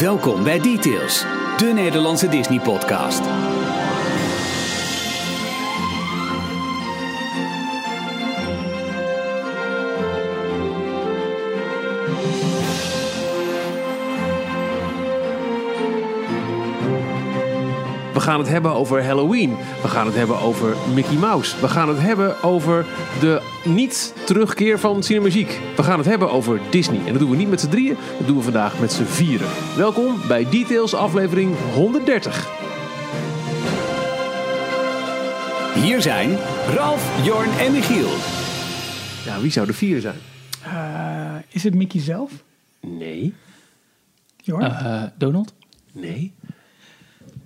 Welkom bij Details, de Nederlandse Disney-podcast. We gaan het hebben over Halloween. We gaan het hebben over Mickey Mouse. We gaan het hebben over de niet-terugkeer van Cinemagiek. We gaan het hebben over Disney. En dat doen we niet met z'n drieën, dat doen we vandaag met z'n vieren. Welkom bij Details aflevering 130. Hier zijn Ralf, Jorn en Michiel. Ja, wie zou de vieren zijn? Eh, is het Mickey zelf? Nee, Jorn? Eh, Donald? nee.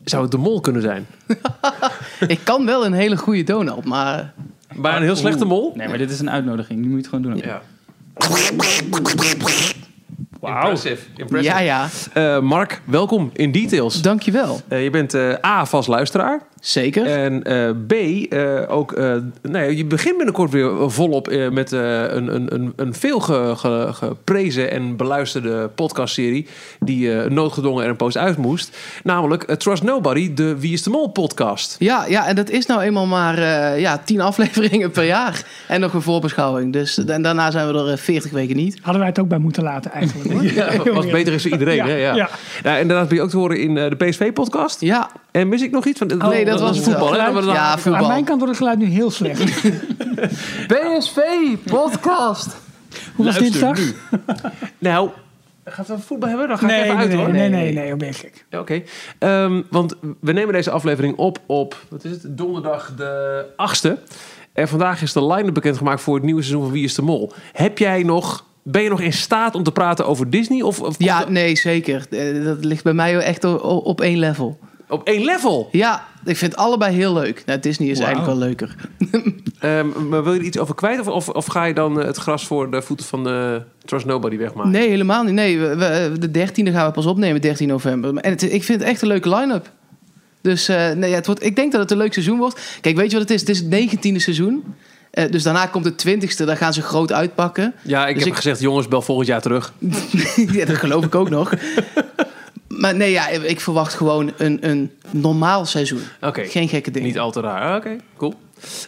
Zou het de mol kunnen zijn? Ik kan wel een hele goede donut, maar Maar een heel slechte mol? Oh. Nee, maar dit is een uitnodiging. Die moet je het gewoon doen. Ja. Wauw. Impressive. ja, impressive. ja, Eh, Mark, welkom in Details. dankjewel. Eh, je bent eh, A, vast luisteraar. Zeker. En eh, B, eh, ook, eh, nou ja, je begint binnenkort weer volop eh, met eh, een, een, een, een veel ge- ge- geprezen en beluisterde podcastserie. Die eh noodgedwongen er een post uit moest. Namelijk eh, Trust Nobody, de Wie is de Mol podcast. ja, ja, en dat is nou eenmaal maar eh, ja, tien afleveringen per jaar. En nog een voorbeschouwing. Dus en daarna zijn we er veertig weken niet. Hadden wij het ook bij moeten laten eigenlijk. hoor. Ja, wat beter is voor iedereen. Ja, hè? Ja. ja. Nou, en daarnaast ben je ook te horen in eh, de PSV-podcast. Ja, En mis ik nog iets? Van, Oh, nee, dat was het voetbal. wel. hè? Oh, Dat was- ja, Aan voetbal. mijn kant wordt het geluid nu heel slecht. PSV-podcast. Hoe was dinsdag? Nee, Nou, gaat we voetbal hebben? Dan ga ik nee, even uit nee, hoor. nee, nee, nee, onmiddellijk. Ja, Oké, Ehm, want we nemen deze aflevering op op, wat is het, donderdag de 8e. En vandaag is de line-up bekendgemaakt voor het nieuwe seizoen van Wie is de Mol. Heb jij nog, ben je nog in staat om te praten over Disney? Of, of Ja, of- nee, zeker. Eh, Dat ligt bij mij echt o- o- op één level. op één level? Ja, ik vind allebei heel leuk. Nou, Disney is Wauw. eigenlijk wel leuker. Ehm, maar wil je er iets over kwijt? Of, of, of ga je dan eh, het gras voor de voeten van eh, Trust Nobody wegmaken? Nee, helemaal niet. Nee, we, we- de 13e gaan we pas opnemen, 13 november. En het- ik vind het echt een leuke line-up. Dus eh, nee, ja, het wordt, ik denk dat het een leuk seizoen wordt. Kijk, weet je wat het is? Het is het 19e seizoen. Eh, dus daarna komt het 20e, daar gaan ze groot uitpakken. Ja, ik Dus heb ik- gezegd, jongens, bel volgend jaar terug. ja, dat geloof ik ook nog. Maar nee, ja, ik verwacht gewoon een, een normaal seizoen. Oké. Geen gekke dingen. Niet al te raar. Ah, Oké, cool.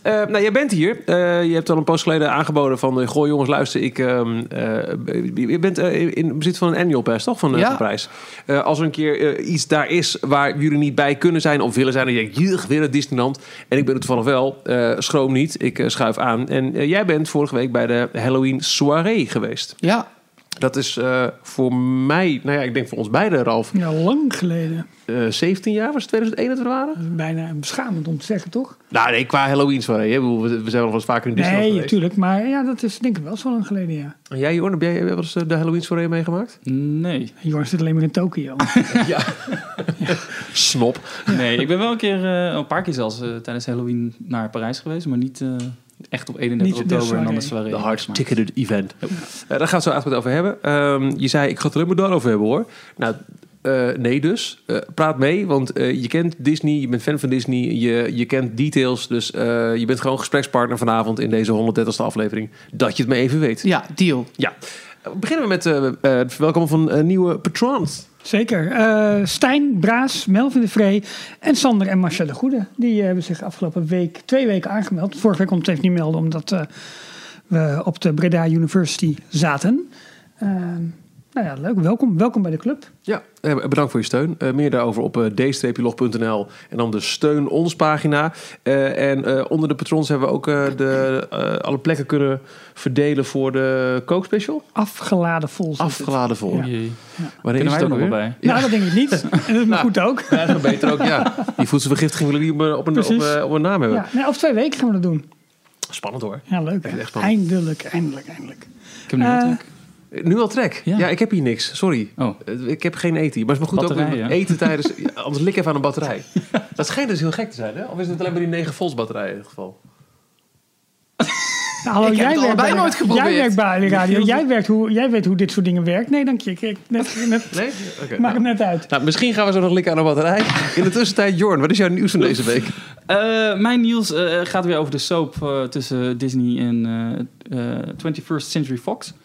Eh, nou, jij bent hier. Eh, je hebt al een poos geleden aangeboden van... eh, goh jongens, luister, ik, ehm, eh, je bent eh, in bezit van een annual pass, toch? Van eh, Ja. van prijs. Eh, als er een keer eh, iets daar is waar jullie niet bij kunnen zijn of willen zijn... en je denkt, juch, weer het Disneyland. En ik ben het vanaf wel. eh, schroom niet, ik eh, schuif aan. En eh, jij bent vorige week bij de Halloween soirée geweest. Ja, Dat is eh, voor mij, nou ja, ik denk voor ons beiden, Ralf... Ja, lang geleden. eh, 17 jaar was het 2001 dat we waren? Dat is bijna beschamend om te zeggen, toch? Nou nee, qua Halloween soirée. hè. Ik bedoel, We we zijn nog wel eens vaker in Disneyland Nee, geweest. natuurlijk. Maar ja, dat is denk ik wel zo lang geleden, ja. En jij, Jorn, heb jij wel eens eh, de Halloween soirée meegemaakt? Nee. Jorn zit alleen maar in Tokio. Snop. Nee, ik ben wel een keer, eh, een paar keer zelfs, eh, tijdens Halloween naar Parijs geweest. Maar niet eh, echt op 31 Niet de oktober en dan de soirée. soirée. De Maar- hard-ticketed event. Eh, daar gaan we het zo uitgebreid over hebben. Ehm, je zei, ik ga het alleen maar daarover hebben hoor. Nou, eh, nee dus. Eh, praat mee, want eh, je kent Disney, je bent fan van Disney, je, je kent details. Dus eh, je bent gewoon gesprekspartner vanavond in deze 130ste aflevering. Dat je het me even weet. ja, deal. Ja. Eh, beginnen we met eh, eh, het verwelkomen van eh, nieuwe patrons. Zeker. Eh, Stijn, Braas, Melvin de Vree en Sander en Marcia de Goede. Die eh, hebben zich afgelopen week, twee weken aangemeld. Vorige week kon het even niet melden, omdat eh, we op de Breda University zaten. Eh, nou ja, leuk. Welkom, welkom bij de club. Ja, eh, bedankt voor je steun. Eh, meer daarover op eh, d-log.nl en dan de steun ons pagina. Eh, en eh, onder de patrons hebben we ook eh, de, eh, alle plekken kunnen verdelen voor de kookspecial. Afgeladen vol. zit het. Afgeladen voor. Ja. Jee. Wanneer is Kunnen wij het er ook nog wel weer? bij? Nou, dat denk ik niet. En dat is maar Nou, goed ook. Ja, dat is wel beter ook, ja. Die voedselvergiftiging willen die op een, op een, op Precies. een, op een naam hebben. Ja, nee, over twee weken gaan we dat doen. Spannend hoor. Ja, leuk. echt Hè? spannend. Eindelijk, eindelijk, eindelijk. Ik heb nu wat Eh, druk. Eh, Nu al trek. Ja. Ja. ik heb hier niks. Sorry. Oh. Eh, Ik heb geen eten hier. Maar het is maar goed ook Batterij, weer hè? eten tijdens... ja, anders lik even aan een batterij. Dat schijnt dus heel gek te zijn, hè? Of is het alleen maar die 9 volts batterij in ieder geval? Nou, hallo, Ik heb jij het werkt allebei bij- nooit geprobeerd. Jij werkt bij de radio. Jij, werkt hoe, jij weet hoe dit soort dingen werkt. Nee, dank je. Ik, ik- net, net, Nee? Oké. maak het net uit. Nou, misschien gaan we zo nog likken aan de batterij. In de tussentijd, Jorn, wat is jouw nieuws van deze week? Eh, mijn nieuws eh, gaat weer over de soap eh, tussen Disney en eh, eh, 21st Century Fox. Eh,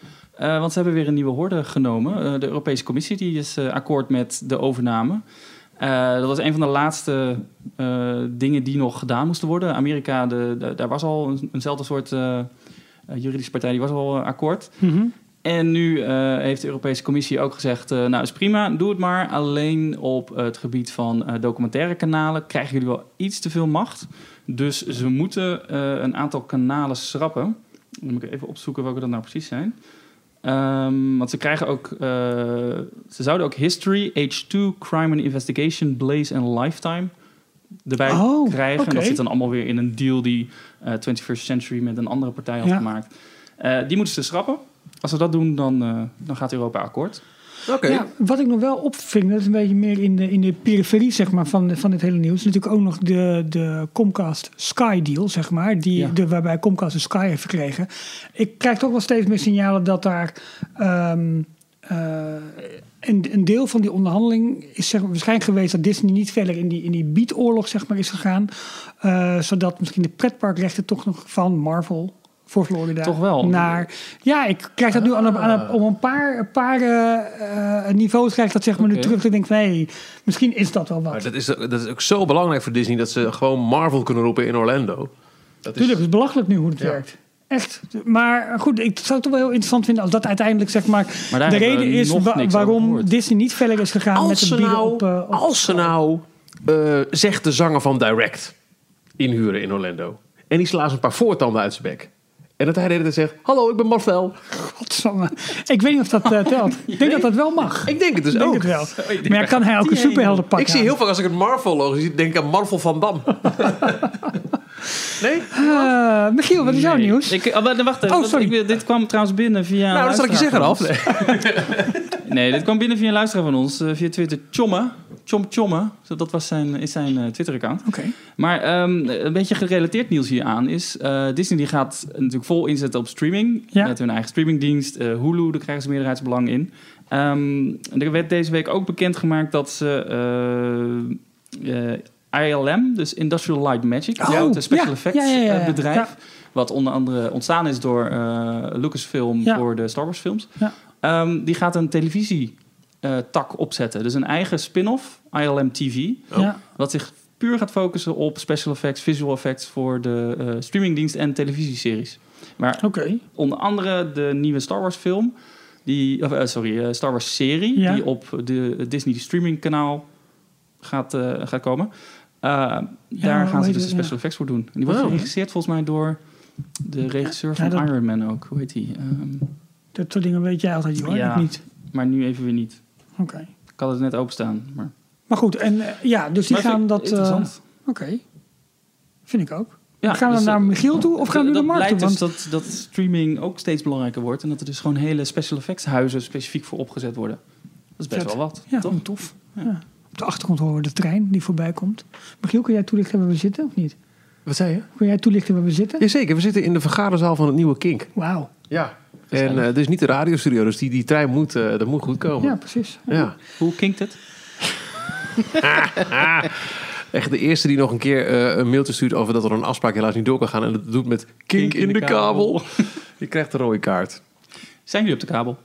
Eh, want ze hebben weer een nieuwe horde genomen. Eh, de Europese Commissie die is eh, akkoord met de overname. Eh, dat was een van de laatste eh, dingen die nog gedaan moesten worden. Amerika, de, de- daar was al een, eenzelfde soort eh, eh, juridische partij, die was al eh, akkoord. Mhm. En nu eh, heeft de Europese Commissie ook gezegd: eh, Nou, is prima, doe het maar. Alleen op het gebied van eh, documentaire kanalen krijgen jullie wel iets te veel macht. Dus ze moeten eh, een aantal kanalen schrappen. Dan moet ik even opzoeken welke dat nou precies zijn. Ehm, want ze krijgen ook. eh, ze zouden ook History, H2, Crime and Investigation, Blaze en Lifetime erbij Oh, krijgen. En oké. dat zit dan allemaal weer in een deal die eh 21st Century met een andere partij had Ja. gemaakt. Eh, die moeten ze schrappen. Als ze dat doen, dan, eh, dan gaat Europa akkoord. Oké. Ja, wat ik nog wel opving, dat is een beetje meer in de, in de periferie zeg maar, van, van dit hele nieuws. Natuurlijk ook nog de, de Comcast Sky deal, zeg maar, die, Ja. de, waarbij Comcast de Sky heeft gekregen. Ik krijg toch wel steeds meer signalen dat daar ehm, eh, een, een deel van die onderhandeling is zeg maar, waarschijnlijk geweest dat Disney niet verder in die, in die biedoorlog zeg maar, is gegaan. Eh, zodat misschien de pretparkrechten toch nog van Marvel voor Florida Toch wel? naar ja, ik krijg dat nu aan, een- aan een- om een paar, een paar eh, eh, niveaus krijg ik dat zeg maar nu Oké. terug. Ik denk, nee, misschien is dat wel Maar wat. dat is, dat is ook zo belangrijk voor Disney dat ze gewoon Marvel kunnen roepen in Orlando. Dat is, Tuurlijk, het is belachelijk nu hoe het werkt. Echt. Maar goed, ik zou het toch wel heel interessant vinden als dat uiteindelijk zeg maar, Maar daar de hebben we reden is nog wa- niks over waarom gehoord. Disney niet verder is gegaan met als het ze bieden nou, op, eh, op- als ze nou eh, zegt de zanger van Direct inhuren in Orlando. En die slaat een paar voortanden uit zijn bek. En dat hij de hele tijd zegt, hallo, ik ben Marvel. Godsamme. Ik weet niet of dat eh, telt. Ik denk dat dat wel mag. Ik denk het dus Ik denk ook. het wel. Maar ja, kan hij ook een Oh, die superhelden pakken? Ik zie heel vaak als ik het Marvel-logo zie, denk ik aan Marvel van Dam. nee? Eh, Michiel, wat is jouw Nee. nieuws? Ik, oh, wa- wacht even. Oh, dat- sorry. ik wil- dit kwam trouwens binnen via. nou, dat zal ik je zeggen, Ralf. af. Nee, dit kwam binnen via een luisteraar van ons. eh, via Twitter Chomme. Chom Chomme. Zo, Dat was zijn, is zijn eh, Twitter-account. Oké. Maar ehm, een beetje gerelateerd nieuws hieraan is... eh, Disney die gaat natuurlijk vol inzetten op streaming. Ja. Met hun eigen streamingdienst. eh, Hulu, daar krijgen ze meerderheidsbelang in. Ehm, er werd deze week ook bekendgemaakt dat ze... eh, eh, ILM, dus Industrial Light Magic, Oh, het special ja. effects Ja, ja, ja, ja. eh, bedrijf, Ja. wat onder andere ontstaan is door eh, Lucasfilm Ja. voor de Star Wars films, Ja. Ehm, die gaat een televisietak opzetten. Dus een eigen spin-off, ILM TV. Oh. Ja. Wat zich puur gaat focussen op special effects, visual effects voor de eh, streamingdienst en televisieseries. Maar Oké. onder andere de nieuwe Star Wars film, die, of, eh, sorry, eh, Star Wars serie, Ja. die op de Disney streaming kanaal gaat, eh, gaat komen. Eh, daar hoe gaan ze heet dus de het? special effects voor doen. En die wordt Oh. geregisseerd volgens mij door de regisseur Ja, van dat- Iron Man ook. Hoe heet die? Ehm, Dat soort dingen weet jij altijd, joh. Ja. Ik niet. maar nu even weer niet. Oké. Ik had het net openstaan. Maar, Maar goed, en eh, ja, dus die Maar gaan vind ik dat. eh, interessant. Oké, vind ik ook. Ja, gaan we dus, naar eh, Michiel toe of gaan we dat naar Mark toe? blijkt Want dus dat, dat streaming ook steeds belangrijker wordt. En dat er dus gewoon hele special effects huizen specifiek voor opgezet worden. Dat is best Vet. wel wat, ja, toch? gewoon tof. Ja. Op de achtergrond horen we de trein die voorbij komt. Michiel, kun jij toelichten waar we zitten of niet? Wat zei je? Kun jij toelichten waar we zitten? Jazeker, we zitten in de vergaderzaal van het nieuwe Kink. Wauw. Ja. En eh, dit is niet de radiostudio, dus die, die trein moet, eh, dat moet goed komen. Ja, Ja. precies. Hoe kinkt het? Echt de eerste die nog een keer eh, een mailtje stuurt over dat er een afspraak helaas niet door kan gaan. En dat doet met kink, in, de, kabel. Je krijgt een rode kaart. Zijn jullie op de kabel?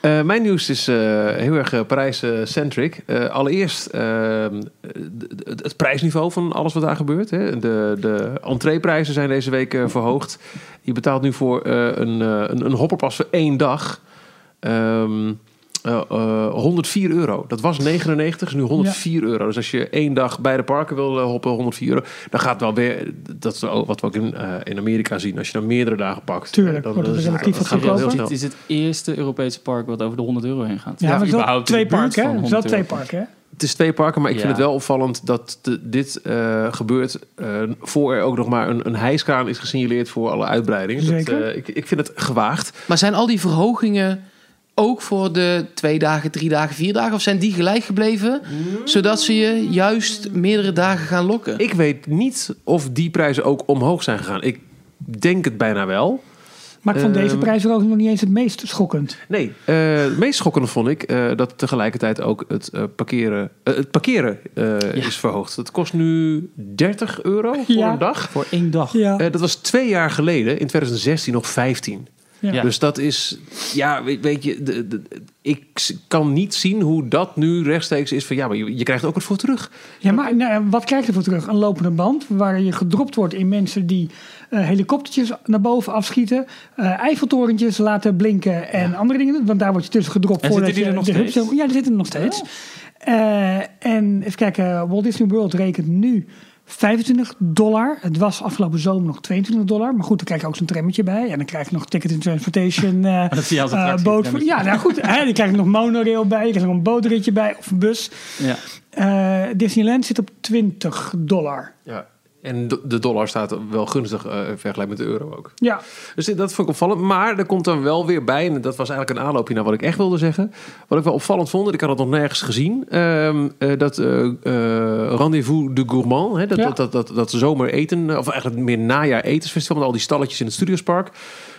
Eh, mijn nieuws is eh, heel erg Parijs-centric. allereerst eh, d- d- het prijsniveau van alles wat daar gebeurt. Hè. De, de entreeprijzen zijn deze week eh, verhoogd. Je betaalt nu voor eh, een, eh, een, een hopperpas voor één dag ehm, eh, eh, 104 euro. Dat was 99, is nu 104 euro. Dus als je één dag bij de parken wil eh, hoppen, 104 euro. Dan gaat het wel weer, dat is ook wat we ook in, eh, in Amerika zien. Als je dan meerdere dagen pakt. Tuurlijk, eh, dan, wordt het dan- relatief dan gaat het wel heel goedkoper. snel. Dit is het eerste Europese park wat over de 100 euro heen gaat. Ja, maar het is wel überhaupt in twee de buurt parken, hè? van Het is wel 100 twee euro. parken, hè? Het is twee parken, maar ik vind Ja. het wel opvallend dat de- dit eh, gebeurt eh, voor er ook nog maar een, een hijskraan is gesignaleerd voor alle uitbreidingen. Dat, Zeker. eh, ik, ik vind het gewaagd. Maar zijn al die verhogingen ook voor de twee dagen, drie dagen, vier dagen? Of zijn die gelijk gebleven, Mm. zodat ze je juist meerdere dagen gaan lokken? Ik weet niet of die prijzen ook omhoog zijn gegaan. Ik denk het bijna wel. Maar ik Eh, vond deze Ehm, prijs ook nog niet eens het meest schokkend. Nee, eh, het meest schokkende vond ik eh, dat tegelijkertijd ook het eh, parkeren, eh, het parkeren eh, is verhoogd. Het kost nu 30 euro voor Ja. een dag. Voor één dag. Ja. Eh, dat was twee jaar geleden, in 2016 nog 15. Ja. Dus dat is, ja, weet, weet je, de, de- ik s- kan niet zien hoe dat nu rechtstreeks is van ja, maar je, je krijgt er ook wat voor terug. Ja, maar nou, ja, wat krijg je ervoor terug? Een lopende band waar je gedropt wordt in mensen die eh, helikoptertjes naar boven afschieten, eh Eiffeltorentjes laten blinken en andere dingen. doen, Want daar word je tussen gedropt En voordat zitten die je er nog de hubs- steeds? Ja, die zitten er nog steeds. Eh, en even kijken, Walt Disney World rekent nu 25 dollar. Het was afgelopen zomer nog 22 dollar. Maar goed, dan krijg je ook zo'n trammetje bij. En dan krijg je nog ticket in transportation. eh, dat zie je als eh, attractie, boot trammetje. ja, nou goed. Hè, dan krijg je nog monorail bij. Je krijgt nog een bootritje bij of een bus. Ja. Eh, Disneyland zit op 20 dollar. Ja. En de, de dollar staat wel gunstig eh vergelijkbaar met de euro ook. Ja, Dus dit- dat vond ik opvallend. Maar er komt dan wel weer bij, en dat was eigenlijk een aanloopje naar wat ik echt wilde zeggen. Wat ik wel opvallend vond, en ik had het nog nergens gezien. ehm, eh, dat eh eh, Rendezvous de Gourmand, hè, dat, Ja. dat, dat, dat, dat zomereten, eh, of eigenlijk meer najaar etensfestival, met al die stalletjes in het Studiospark.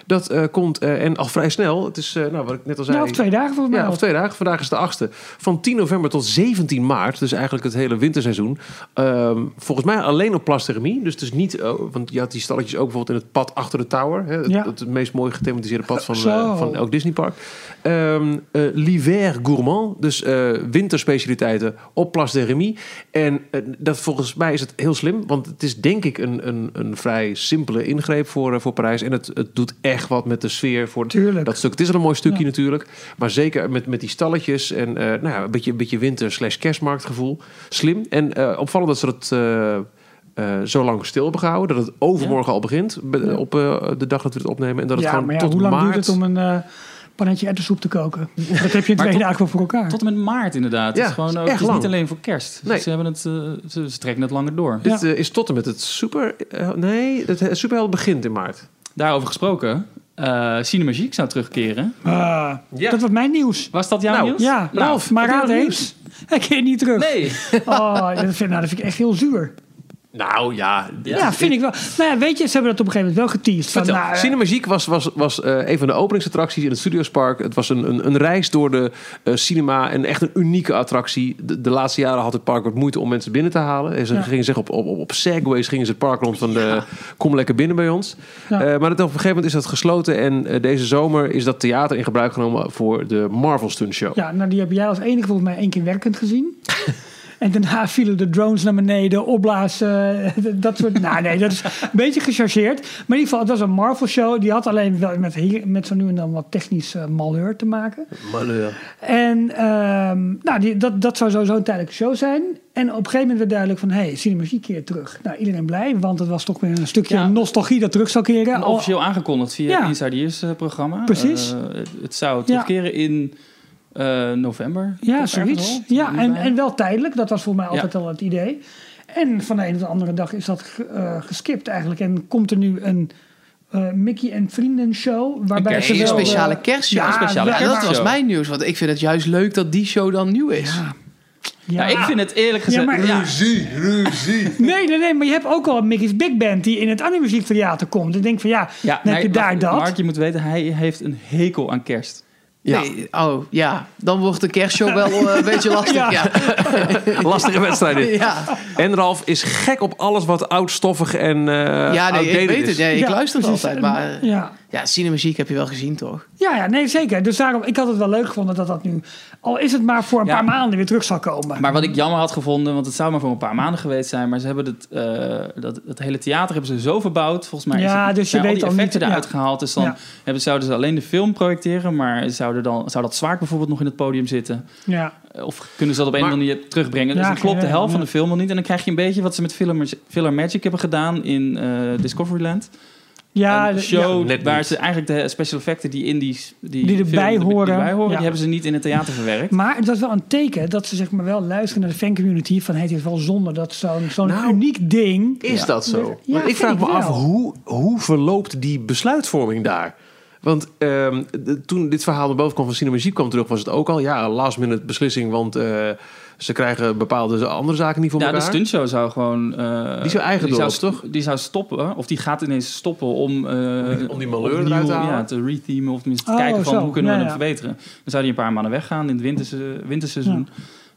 Dat eh, komt, eh, en al vrij snel, het is eh, nou, wat ik net al zei. nou, of twee dagen volgens mij. Ja, al. of twee dagen. Vandaag is de achtste. Van 10 november tot 17 maart, dus eigenlijk het hele winterseizoen. Ehm, volgens mij alleen op plasticemie. Dus het is niet, eh, want je had die stalletjes ook bijvoorbeeld in het pad achter de tower. Hè, het, Ja. het, meest mooi gethematiseerde pad van, Zo. eh, van elk Disneypark. Ehm eh, L'hiver gourmand, dus eh, winterspecialiteiten op plasticemie. En eh, dat, volgens mij is het heel slim, want het is denk ik een, een, een vrij simpele ingreep voor, eh, voor Parijs. En het, het doet echt wat met de sfeer voor, Tuurlijk. dat stuk. Het is al een mooi stukje Ja. natuurlijk. Maar zeker met, met die stalletjes en eh, nou ja, een beetje, een beetje winter slash kerstmarktgevoel. Slim. En eh, opvallend dat ze dat eh, eh, zo lang stil hebben gehouden. Dat het overmorgen al begint. be- Ja. Op eh, de dag dat we het opnemen. En dat het ja, gewoon maar ja, tot hoe lang maart... duurt het om een eh pannetje erwtensoep te koken? Dat heb je in Maar twee tot- dagen wel voor elkaar. Tot en met maart inderdaad. Ja, het is gewoon het is ook, echt het is lang. niet alleen voor kerst. Dus Nee. Ze, hebben het, eh, ze, ze trekken het langer door. Dit eh, is tot en met het super... eh, nee, het eh, superheld begint in maart. Daarover gesproken, eh Cinemagique zou terugkeren. Ah, Ja. Dat was mijn nieuws. Was dat jouw Nou, nieuws? Ja, Nou, Ralf, maar vertel raad het eens. Hij keert niet terug. Nee. Oh, dat, vind, nou, dat vind ik echt heel zuur. Nou ja... Ja, vind ik wel. Nou ja, weet je, ze hebben dat op een gegeven moment wel geteased. Van, Vertel. nou, eh, Cinemagiek was, was, was eh, een van de openingsattracties in het Studiospark. Het was een, een, een reis door de eh, cinema en echt een unieke attractie. De, de laatste jaren had het park wat moeite om mensen binnen te halen. En ze Ja. gingen zich op, op, op, op segways gingen ze het park rond van de, kom lekker binnen bij ons. Ja. Eh, maar dat, op een gegeven moment is dat gesloten. En eh, deze zomer is dat theater in gebruik genomen voor de Marvel Stunt Show. ja, nou, die heb jij als enige volgens mij één keer werkend gezien. En daarna vielen de drones naar beneden, opblazen, dat soort... Nou nee, dat is een beetje gechargeerd. Maar in ieder geval, het was een Marvel-show. Die had alleen wel met, hier- met zo nu en dan wat technisch eh, malheur te maken. En ehm, nou, die, dat, dat zou sowieso een tijdelijke show zijn. En op een gegeven moment werd duidelijk van... hé, hey, Cinemagie keert terug. Nou, iedereen blij, want het was toch weer een stukje Ja. nostalgie dat terug zou keren. En Al- officieel aangekondigd via Ja. het Inside Ears eh, programma. Precies. Eh, het, het zou terugkeren in eh, november. Ja, Ergens zoiets. al. Ja, en, Hierbij. en wel tijdelijk. Dat was voor mij Ja. altijd al het idee. En van de een op de andere dag is dat ge- eh, geskipt eigenlijk. En komt er nu een eh, Mickey en Vrienden show. Waarbij Een ze Nee, een wel, eh, speciale kerstshow. ja, Ja, speciale wel- dat was kerstshow. mijn nieuws. Want ik vind het juist leuk dat die show dan nieuw is. Ja, Nou, ik vind het eerlijk gezegd... Ja, maar- Ruzie, ruzie. Nee, nee, nee, maar je hebt ook al een Mickey's Big Band die in het animuziektheater komt. Ik denk van ja, Ja, dan heb je nee, daar wacht, dat. Mark, je moet weten, hij heeft een hekel aan kerst. Ja. Nee, oh, ja. Dan wordt de kerstshow wel eh, een beetje lastig. Ja. Ja. Ja. Lastige wedstrijd dit. Ja. En Ralf is gek op alles wat oudstoffig en eh nee, outdated ik weet is. het. Nee, ik Ja, luister precies. altijd. Maar eh, Ja. ja, cinemuziek heb je wel gezien, toch? Ja, ja, nee, zeker. Dus daarom, ik had het wel leuk gevonden dat dat nu, al is het maar voor een Ja. paar maanden weer terug zal komen. Maar wat ik jammer had gevonden, want het zou maar voor een paar maanden geweest zijn, maar ze hebben het, eh, dat, het hele theater hebben ze zo verbouwd. Volgens mij Ja, is het, dus je zijn weet al al die effecten niet- eruit ja. gehaald. Dus dan Ja. hebben, zouden ze alleen de film projecteren, maar zouden dan, zou dat zwaard bijvoorbeeld nog in het podium zitten? ja. Eh, Of kunnen ze dat op een Maar- of andere manier terugbrengen? dus Ja, dan klopt de geen helft idee, van de film al niet. En dan krijg je een beetje wat ze met Filler, Filler Magic hebben gedaan in eh, Discoveryland. Ja, een d- show ja, net waar niet. ze eigenlijk de special effecten die in die, die, Die erbij die horen. erbij horen, Ja. die hebben ze niet in het theater verwerkt. Maar het was wel een teken dat ze zeg maar wel luisteren naar de fancommunity. Van hey, het is wel zonde dat zo'n zo'n Nou. uniek ding. Is dat zo? Want Ja, ik vind vraag ik me af, wel. hoe, hoe verloopt die besluitvorming daar? Want ehm, de- toen dit verhaal naar boven kwam van Cinemagiek kwam terug... was het ook al, ja, last minute beslissing... want eh, ze krijgen bepaalde andere zaken niet voor Ja, de elkaar. stuntshow zou gewoon... eh, Die zou eigen die zou, door, toch? Die zou stoppen, of die gaat ineens stoppen om... eh, om die malheur opnieuw, eruit te halen? Ja, te rethemen of tenminste te Oh, kijken van zo. hoe kunnen we Ja, hem ja. verbeteren. Dan zou die een paar maanden weggaan in het winterse- winterseizoen.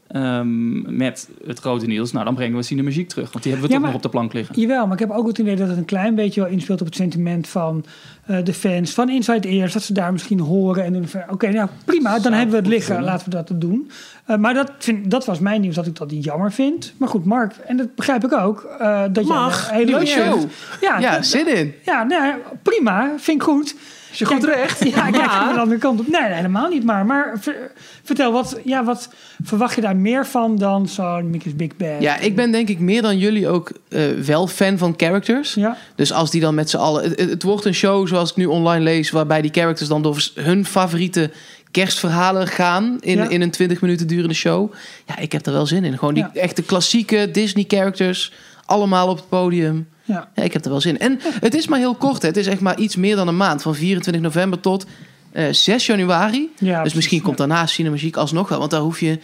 ehm, met het grote nieuws. Nou, dan brengen we Cinemagiek terug. Want die hebben Ja, we toch maar- nog op de plank liggen. Jawel, maar ik heb ook het idee dat het een klein beetje wel inspeelt op het sentiment van eh, de fans, van Inside Ears, dat ze daar misschien horen en doen van, oké, nou prima, dan Zou hebben we het goed liggen, kunnen. laten we dat doen. Eh, maar dat, vind, dat was mijn nieuws, dat ik dat jammer vind. Maar goed, Mark, en dat begrijp ik ook, eh, dat Mag, jij een Ah, hele Leuk show. Ja, Ja, dat- zin in. ja, nou ja, prima, vind ik goed. Is je goed Kijk, recht? Ja, ik kijk van de andere kant op. Nee, nee, helemaal niet. Maar, maar ver- vertel, wat, ja, wat verwacht je daar meer van dan zo'n Mickey's Big Band? Ja, ik ben denk ik meer dan jullie ook eh, wel fan van characters. Ja, Dus als die dan met z'n allen... Het, het- het wordt een show zoals ik nu online lees... waarbij die characters dan door hun favoriete kerstverhalen gaan... in, Ja. in een 20 minuten durende show. Ja, ik heb er wel zin in. Gewoon die echte klassieke Disney characters... allemaal op het podium. ja. Ja, ik heb er wel zin in. En het is maar heel kort. Hè. Het is echt maar iets meer dan een maand. Van 24 november tot eh, 6 januari. ja dus precies, misschien ja. komt daarna Cinemagiek alsnog wel. Want daar hoef je...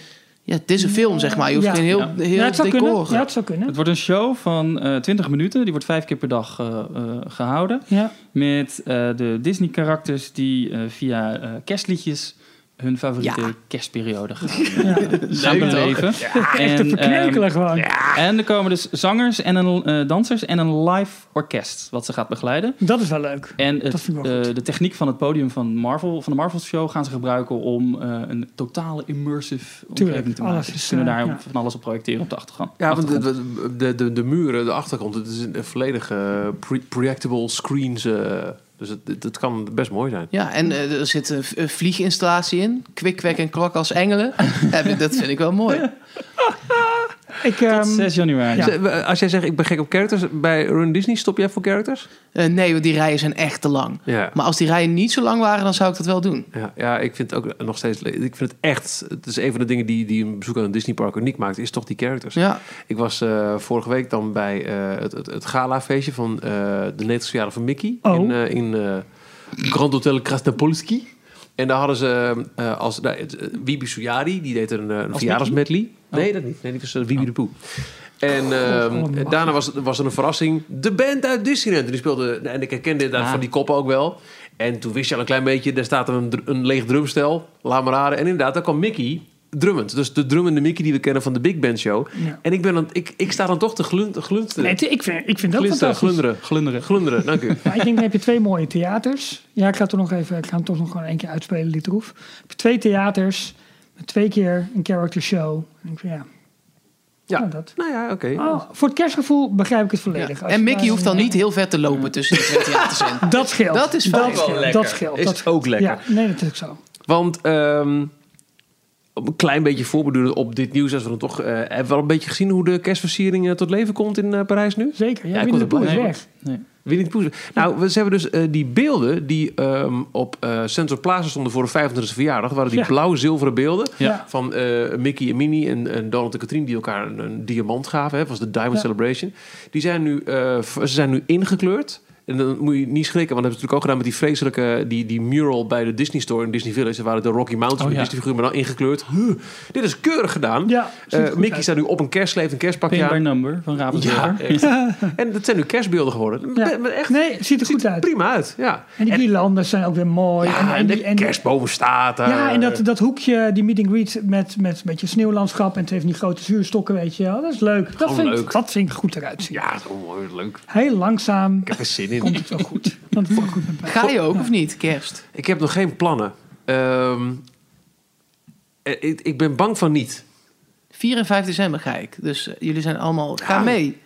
Ja, het is een film, zeg maar. Je hoeft Ja. geen heel, Ja. heel ja, het zou decor. kunnen. Ja, het zou kunnen. Het wordt een show van eh 20 minuten. Die wordt vijf keer per dag eh, eh, gehouden. Ja. Met eh, de Disney-karakters die eh, via eh, kerstliedjes hun favoriete Ja. kerstperiode gaan, Ja. gaan beleven. Echt te En, verkneukelen ehm, gewoon. En er komen dus zangers en een, eh, dansers en een live orkest wat ze gaat begeleiden. Dat is wel leuk. En het, Dat vind ik wel eh, goed. de techniek van het podium van, Marvel, van de Marvel Show gaan ze gebruiken om eh, een totale immersive omgeving te maken. alles Dus is, ze kunnen eh, daar ja. van alles op projecteren op de achtergrond. Ja, want de, Achtergrond. de, de, de, muren, de achtergrond, het is een, een volledige pre- projectable screens. eh, dus het, het, het kan best mooi zijn. Ja, en eh, er zit een v- een vlieginstallatie in. Kwik, kwek en klok als engelen. Ja, dat vind ik wel mooi. Ik, ehm, Tot 6 januari. Ja. Z- eh, Als jij zegt, ik ben gek op characters, bij Run Disney stop jij voor characters? Eh, nee, want die rijen zijn echt te lang. Ja. Maar als die rijen niet zo lang waren, dan zou ik dat wel doen. Ja, ja, ik vind het ook nog steeds... le- Ik vind het echt... Het is een van de dingen die, die een bezoek aan een Disneypark uniek maakt... is toch die characters. Ja, Ik was eh, vorige week dan bij eh, het, het, het galafeestje van eh, de 90 jaren van Mickey. Oh. In, eh, in eh, Grand Hotel Krasnopolski. En daar hadden ze eh, als... Nou, het, eh, Wiebe Sujari, die deed een, eh, een verjaardagsmedley. Oh. Nee, dat niet. Nee, die was eh, Wiebe de Poe. En ehm, wat mag daarna was, was er een verrassing. De band uit Disneyland. En die speelde... En ik herkende inderdaad Ah. van die koppen ook wel. En toen wist je al een klein beetje... Daar staat een, dr- een leeg drumstel. Laat maar raden. En inderdaad, daar kwam Mickey drummend. Dus de drummende Mickey die we kennen van de Big Band Show. Ja. En ik, ben dan, ik, ik sta dan toch te glun- te glunsteren. nee, ik vind, ik vind dat Glunsteren, fantastisch. glunderen. Glunderen. Glunderen, dank u. Maar ik denk, dan heb je twee mooie theaters. Ja, ik ga, toch nog even, ik ga hem toch nog gewoon één keer uitspelen, die troef. Heb je twee theaters, met twee keer een character show. En ik vind, ja. Ja. Nou, dat. Nou ja, oké. Oh, voor het kerstgevoel begrijp ik het ja. volledig. Als En je Mickey daar- hoeft dan niet heel ver te lopen tussen de twee theaters in. Dat scheelt. Dat is fijn. scheelt, Wel lekker. Dat scheelt. Is dat scheelt. ook lekker. Ja, nee, dat is ook zo. Want ehm, om een klein beetje voorbeduren op dit nieuws... als we dan toch... eh, hebben we al een beetje gezien hoe de kerstversiering eh, tot leven komt in eh, Parijs nu? Zeker. Ja, Ja, ik Winnie de word er Poel is blij weg. Nee. Winnie Poes. Nou, we- ze hebben dus eh, die beelden die ehm, op eh Central Plaza stonden voor de 25e verjaardag. Dat waren die Ja. blauw-zilveren beelden Ja. Ja. van eh, Mickey en Minnie en, en Donald en Katrien die elkaar een, een diamant gaven. Hè, dat was de Diamond Ja. Celebration. Die zijn nu, eh, v- ze zijn nu ingekleurd. En dan moet je niet schrikken, want dat hebben ze natuurlijk ook gedaan met die vreselijke die, die mural bij de Disney Store in Disney Village. Daar waren de Rocky Mountains Oh, met ja. Disney figuren, maar dan ingekleurd. Huh, dit is keurig gedaan. Ja, ziet er Eh, goed Mickey uit. staat nu op een kerstsleef, een kerstpakje Paint by aan. Number van Ja, Ravensburger. echt. en dat zijn nu kerstbeelden geworden. Ja. Met- met Echt Nee, ziet er goed uit. prima uit. Ja. En die guirlandes zijn ook weer mooi. Ja, en, en die- de en die- kerstboom staat daar. Ja, en dat, dat hoekje, die meet and greet met, met een beetje sneeuwlandschap en twee van die grote zuurstokken, weet je wel. Dat is leuk. Dat Gewoon vind, ik- leuk. dat vind ik goed eruit zien. Ja, zo mooi, leuk. Heel langzaam Ik heb er zin komt in. het wel goed. Want het is wel goed met mij. Ga je ook of niet, kerst? Ik heb nog geen plannen. Ehm, eh, ik, ik ben bang van niet. 4 en 5 december ga ik. Dus eh, jullie zijn allemaal... Ga Ja. mee.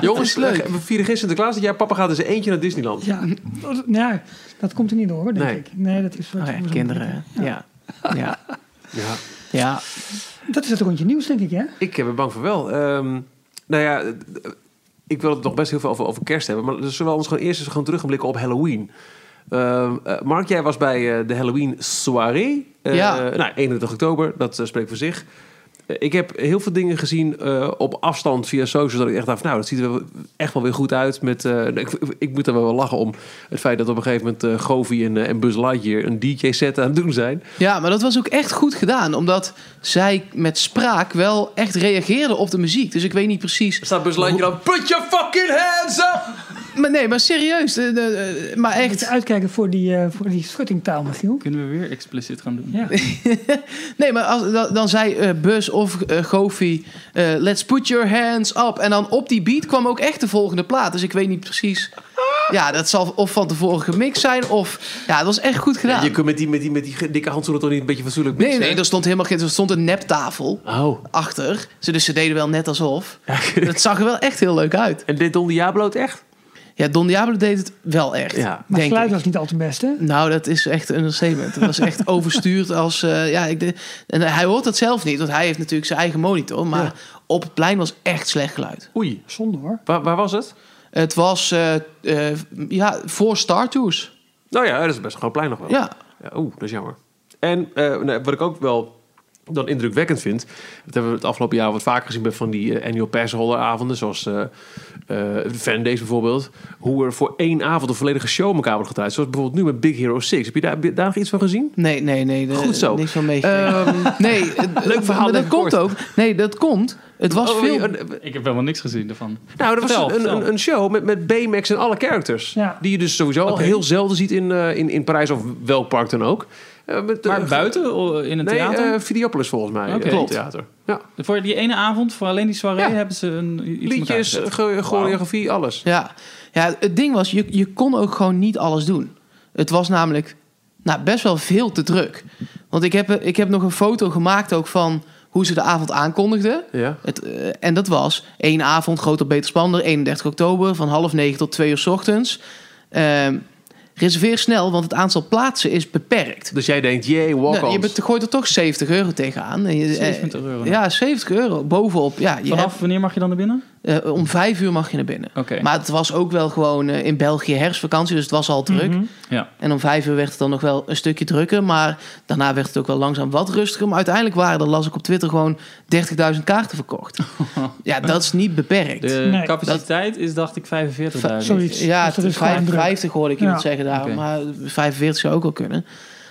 Jongens, is leuk. We vieren gisteren Sinterklaas dat jij papa gaat eens eentje naar Disneyland. Ja, dat, ja, dat komt er niet door, hoor, denk Nee. ik. Nee, dat is wat Oh ja, anders. kinderen. Ja. Ja. Ja. ja. Dat is het rondje nieuws, denk ik, hè? Ik ben bang van wel. Ehm, nou ja, eh, ik wil het nog best heel veel over, over kerst hebben. Maar zullen we ons gewoon eerst eens gaan terugblikken op Halloween? Ehm, eh, Mark, jij was bij eh, de Halloween soirée. Eh, Ja. Nou, 31 oktober, dat eh, spreekt voor zich. Eh, ik heb heel veel dingen gezien eh, op afstand via social. Dat ik echt dacht, van, nou, dat ziet er wel- echt wel weer goed uit. Met, eh, ik, ik moet er wel lachen om het feit dat op een gegeven moment eh, Govi en, eh, en Buzz Lightyear een DJ-set aan het doen zijn. Ja, maar dat was ook echt goed gedaan. Omdat zij met spraak wel echt reageerden op de muziek. Dus ik weet niet precies... Er staat Buzz Lightyear dan, put your fucking hands up! maar nee, maar serieus. de- de- maar Moet je echt. uitkijken voor die, eh, voor die schuttingtaal, Michiel. Kunnen we weer expliciet gaan doen? Ja. Nee, maar als, dan, dan zei eh, Bus of eh Goofy, eh, let's put your hands up. En dan op die beat kwam ook echt de volgende plaat. Dus ik weet niet precies. Ja, dat zal of van tevoren gemixt zijn of... Ja, dat was echt goed gedaan. Je kunt met die, met die, met die dikke handschoenen toch niet een beetje fatsoenlijk Nee, mixen? nee, er stond helemaal geen... Er stond een neptafel Oh. achter. Ze, dus ze deden wel net alsof. Dat zag er wel echt heel leuk uit. En dit Don Diablo het echt? Ja, Don Diablo deed het wel echt. Ja. Maar denk geluid ik. was niet al te best, hè? Nou, dat is echt een understatement. Het was echt overstuurd als... eh, ja, ik de- en hij hoort dat zelf niet, want hij heeft natuurlijk zijn eigen monitor. Maar Ja. op het plein was echt slecht geluid. Oei. Zonde hoor. Waar, waar was het? Het was eh, eh, ja, voor Star Tours. Nou ja, dat is best een groot plein nog wel. Ja. Ja, Oeh, dat is jammer. En eh, nee, wat ik ook wel dan indrukwekkend vind... dat hebben we het afgelopen jaar wat vaker gezien... bij van die eh, annual passholder avonden... zoals eh eh Fan Days bijvoorbeeld... hoe er voor één avond een volledige show om elkaar wordt gedraaid. Zoals bijvoorbeeld nu met Big Hero 6. Heb je daar, heb je daar nog iets van gezien? Nee, nee, nee. de- Goed zo. Eh, Niks van meegekregen. Ehm, nee, Leuk leuk verhaal, verhaal. Maar dat even kort. komt ook. Nee, dat komt. Het was Oh, veel... eh, Ik heb helemaal niks gezien daarvan. Nou, dat Vertel, was een, vertel. een, een show met, met B-Max en alle characters. Ja. Die je dus sowieso al Oké. heel zelden ziet in, eh, in, in Parijs of welk park dan ook. Eh, met, eh, Maar buiten, o- in het Nee, theater? eh, Videopolis volgens mij. Oké. eh, Klopt. Theater. Ja. voor die ene avond, voor alleen die soirée, Ja. hebben ze een, iets met elkaar Liedjes, gezet. ge- choreografie, alles. Ja. ja, het ding was, je, je kon ook gewoon niet alles doen. Het was namelijk nou, best wel veel te druk. Want ik heb, ik heb nog een foto gemaakt ook van hoe ze de avond aankondigden. Ja. Het, eh, en dat was één avond, groter, beter, spannender, 31 oktober, van half negen tot twee uur 's ochtends. Ehm, reserveer snel, want het aantal plaatsen is beperkt. Dus jij denkt, jee, walk Nou, je bet- gooit er toch 70 euro tegenaan. En je- eh, 70 euro. nou. Ja, 70 euro bovenop. Ja, je Vanaf wanneer mag je dan naar binnen? hebt, eh, om vijf uur mag je naar binnen. Oké. Maar het was ook wel gewoon eh, in België herfstvakantie, dus het was al druk. Mhm. Ja. En om vijf uur werd het dan nog wel een stukje drukker, maar daarna werd het ook wel langzaam wat rustiger. Maar uiteindelijk waren er, las ik op Twitter, gewoon 30.000 kaarten verkocht. ja, dat is niet beperkt. De Nee. capaciteit is, dacht ik, 45.000. Sorry. zoiets. ja, Dus dat is vijf- gewoon druk. 50 hoorde ik iemand Ja. zeggen daar, Oké. maar 45 zou ook al kunnen.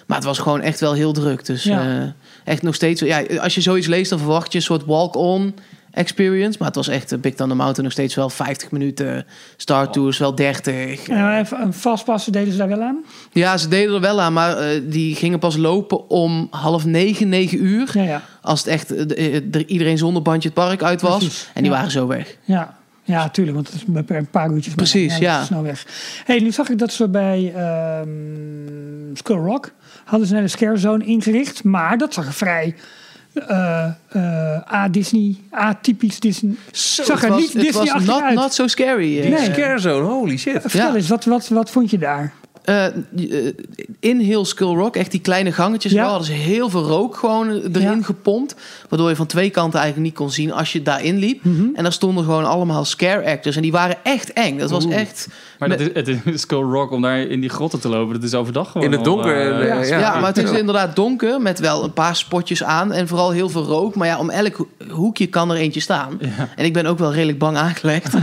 Maar het was gewoon echt wel heel druk. Dus Ja. eh, echt nog steeds. Ja, als je zoiets leest, dan verwacht je een soort walk-on experience. Maar het was echt eh, Big Thunder Mountain nog steeds wel 50 minuten. Oh. Star Tours wel 30. En even een vastpassen deden ze daar wel aan. Ja, ze deden er wel aan, maar eh, die gingen pas lopen om half negen, negen uur. Ja, ja. Als het echt eh, de- eh, er iedereen zonder bandje het park uit was. Precies, en die ja. waren zo weg. Ja, ja tuurlijk, want het is maar per een paar uurtjes. maar Precies, dan, ja. is het Snel weg. hey, nu zag ik dat ze bij ehm Skull Rock hadden ze net een scare zone ingericht, maar dat zag er vrij eh, eh, a-Disney, a-typisch Disney. zag er het was, niet het was Disney-achtig not, uit. not so scary. eh. Die scare zone, holy shit. Vertel ja. eens, wat, wat, wat vond je daar? Eh, eh, in heel Skull Rock, echt die kleine gangetjes, Ja. wel, hadden ze heel veel rook gewoon erin Ja. gepompt. Waardoor je van twee kanten eigenlijk niet kon zien als je daarin liep. Mhm. En daar stonden gewoon allemaal scare actors. En die waren echt eng. Dat was echt. Maar Met- dat is, het is Skull Rock om daar in die grotten te lopen. Dat is overdag gewoon In het al, donker, eh, eh, Ja, Ja, maar het is ja. inderdaad donker met wel een paar spotjes aan en vooral heel veel rook. Maar ja, om elk ho- hoekje kan er eentje staan. En ik ben ook wel redelijk bang aangelegd.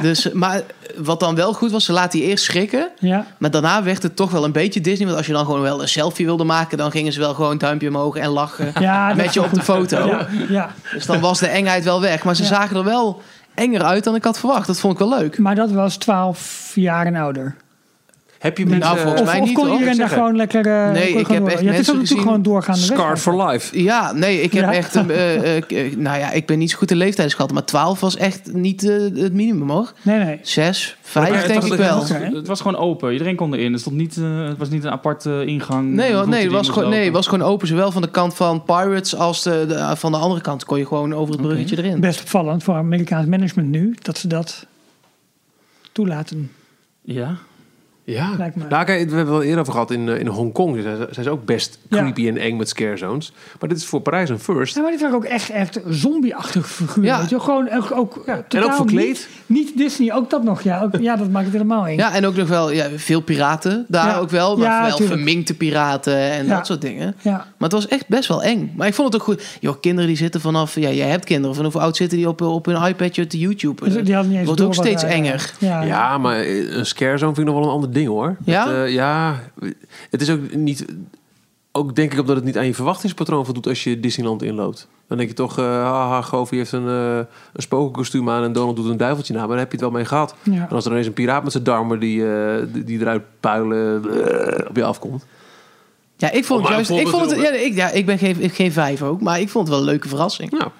dus, maar wat dan wel goed was, ze laat die eerst schrikken. Ja, Maar daarna werd het toch wel een beetje Disney. Want als je dan gewoon wel een selfie wilde maken, dan gingen ze wel gewoon duimpje omhoog en lachen. ja dat- met je op de foto. Ja, ja. Dus dan was de engheid wel weg. Maar ze Ja. zagen er wel enger uit dan ik had verwacht. Dat vond ik wel leuk. maar dat was 12 jaar en ouder. Heb je eh, met Nou, volgens Of, mij of niet, kon hoor, iedereen ik daar zeggen. gewoon lekker... eh, kon je ik gewoon heb door- echt ja, het is ook mensen natuurlijk gezien- gewoon doorgaande weg. Scarred for life? Ja, nee, ik heb Ja. echt... een, eh, eh, k- eh, nou ja, ik ben niet zo goed in leeftijdsschat. Maar 12 was echt niet eh, het minimum, hoor. Nee, nee. 6, Maar 5 het denk was ik een- wel. Oké. Het was gewoon open. Iedereen kon erin. Er stond niet, eh, het was niet een aparte ingang. Nee hoor, route nee, die het was je gewoon, moest nee, het lopen. was gewoon open. Zowel van de kant van Pirates als de, de- van de andere kant kon je gewoon over het Oké. bruggetje erin. Best opvallend voor Amerikaans management nu dat ze dat toelaten. Ja. Ja. Lijkt me. Nou, kijk, we hebben het wel eerder over gehad in, eh, in Hongkong. Zijn ze, zijn ze ook best Ja. creepy en eng met scare zones. Maar dit is voor Parijs een first. Ja, maar dit waren ook echt, echt zombie-achtige figuren. Ja. Weet je? wel. Gewoon ook, ook eh, totaal en ook verkleed. Niet, niet Disney, ook dat nog. Ja, ook, ja dat maakt het helemaal eng. Ja, en ook nog wel ja, veel piraten daar Ja. ook wel. Maar Ja, wel tuurlijk. verminkte piraten en Ja. dat soort dingen. Ja. Maar het was echt best wel eng. Maar ik vond het ook goed. Joh, kinderen die zitten vanaf... Ja, jij hebt kinderen. Vanaf hoe oud zitten die op, op hun iPadje te YouTube? Dus die hadden niet eens Wordt ook door wat steeds daar- eh, enger. Ja, Ja, maar eh, een scare zone vind ik nog wel een ander ding hoor. Ja? Dat, eh, ja, het is ook niet ook denk ik omdat het niet aan je verwachtingspatroon voldoet als je Disneyland inloopt. Dan denk je toch, eh haha, Goofy heeft een, eh een spokenkostuum aan en Donald doet een duiveltje na. Maar daar heb je het wel mee gehad. Ja. En als er ineens een piraat met zijn darmen die, eh, die, die eruit puilen eh, op je afkomt. Ja, ik vond Om het maar juist... een Ik vond het, ja, voorbeeld ik, ja, ik ben geen, geen vijf ook, maar ik vond het wel een leuke verrassing. Nou,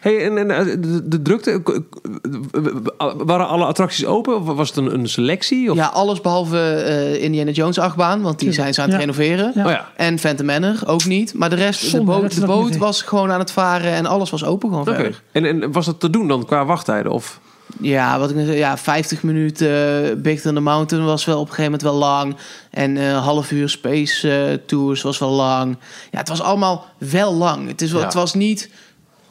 hey, en, en eh, de, de drukte, k- k- waren alle attracties open? Of was het een, een selectie? Of? Ja, alles behalve eh, Indiana Jones achtbaan, want die Tuurlijk, zijn ze aan het ja. renoveren. Ja. Oh ja. En Phantom Manor ook niet. Maar de rest, Zonde, de dat boot, ze de dat niet boot doen. was gewoon aan het varen en alles was open gewoon Oké. verder. En, en was dat te doen dan qua wachttijden? Of? Ja, wat ik net zei, ja, 50 minuten eh, Big Thunder Mountain was wel op een gegeven moment wel lang. En eh, half uur Space eh, Tours was wel lang. Ja, het was allemaal wel lang. Het, is wel, Ja. het was niet...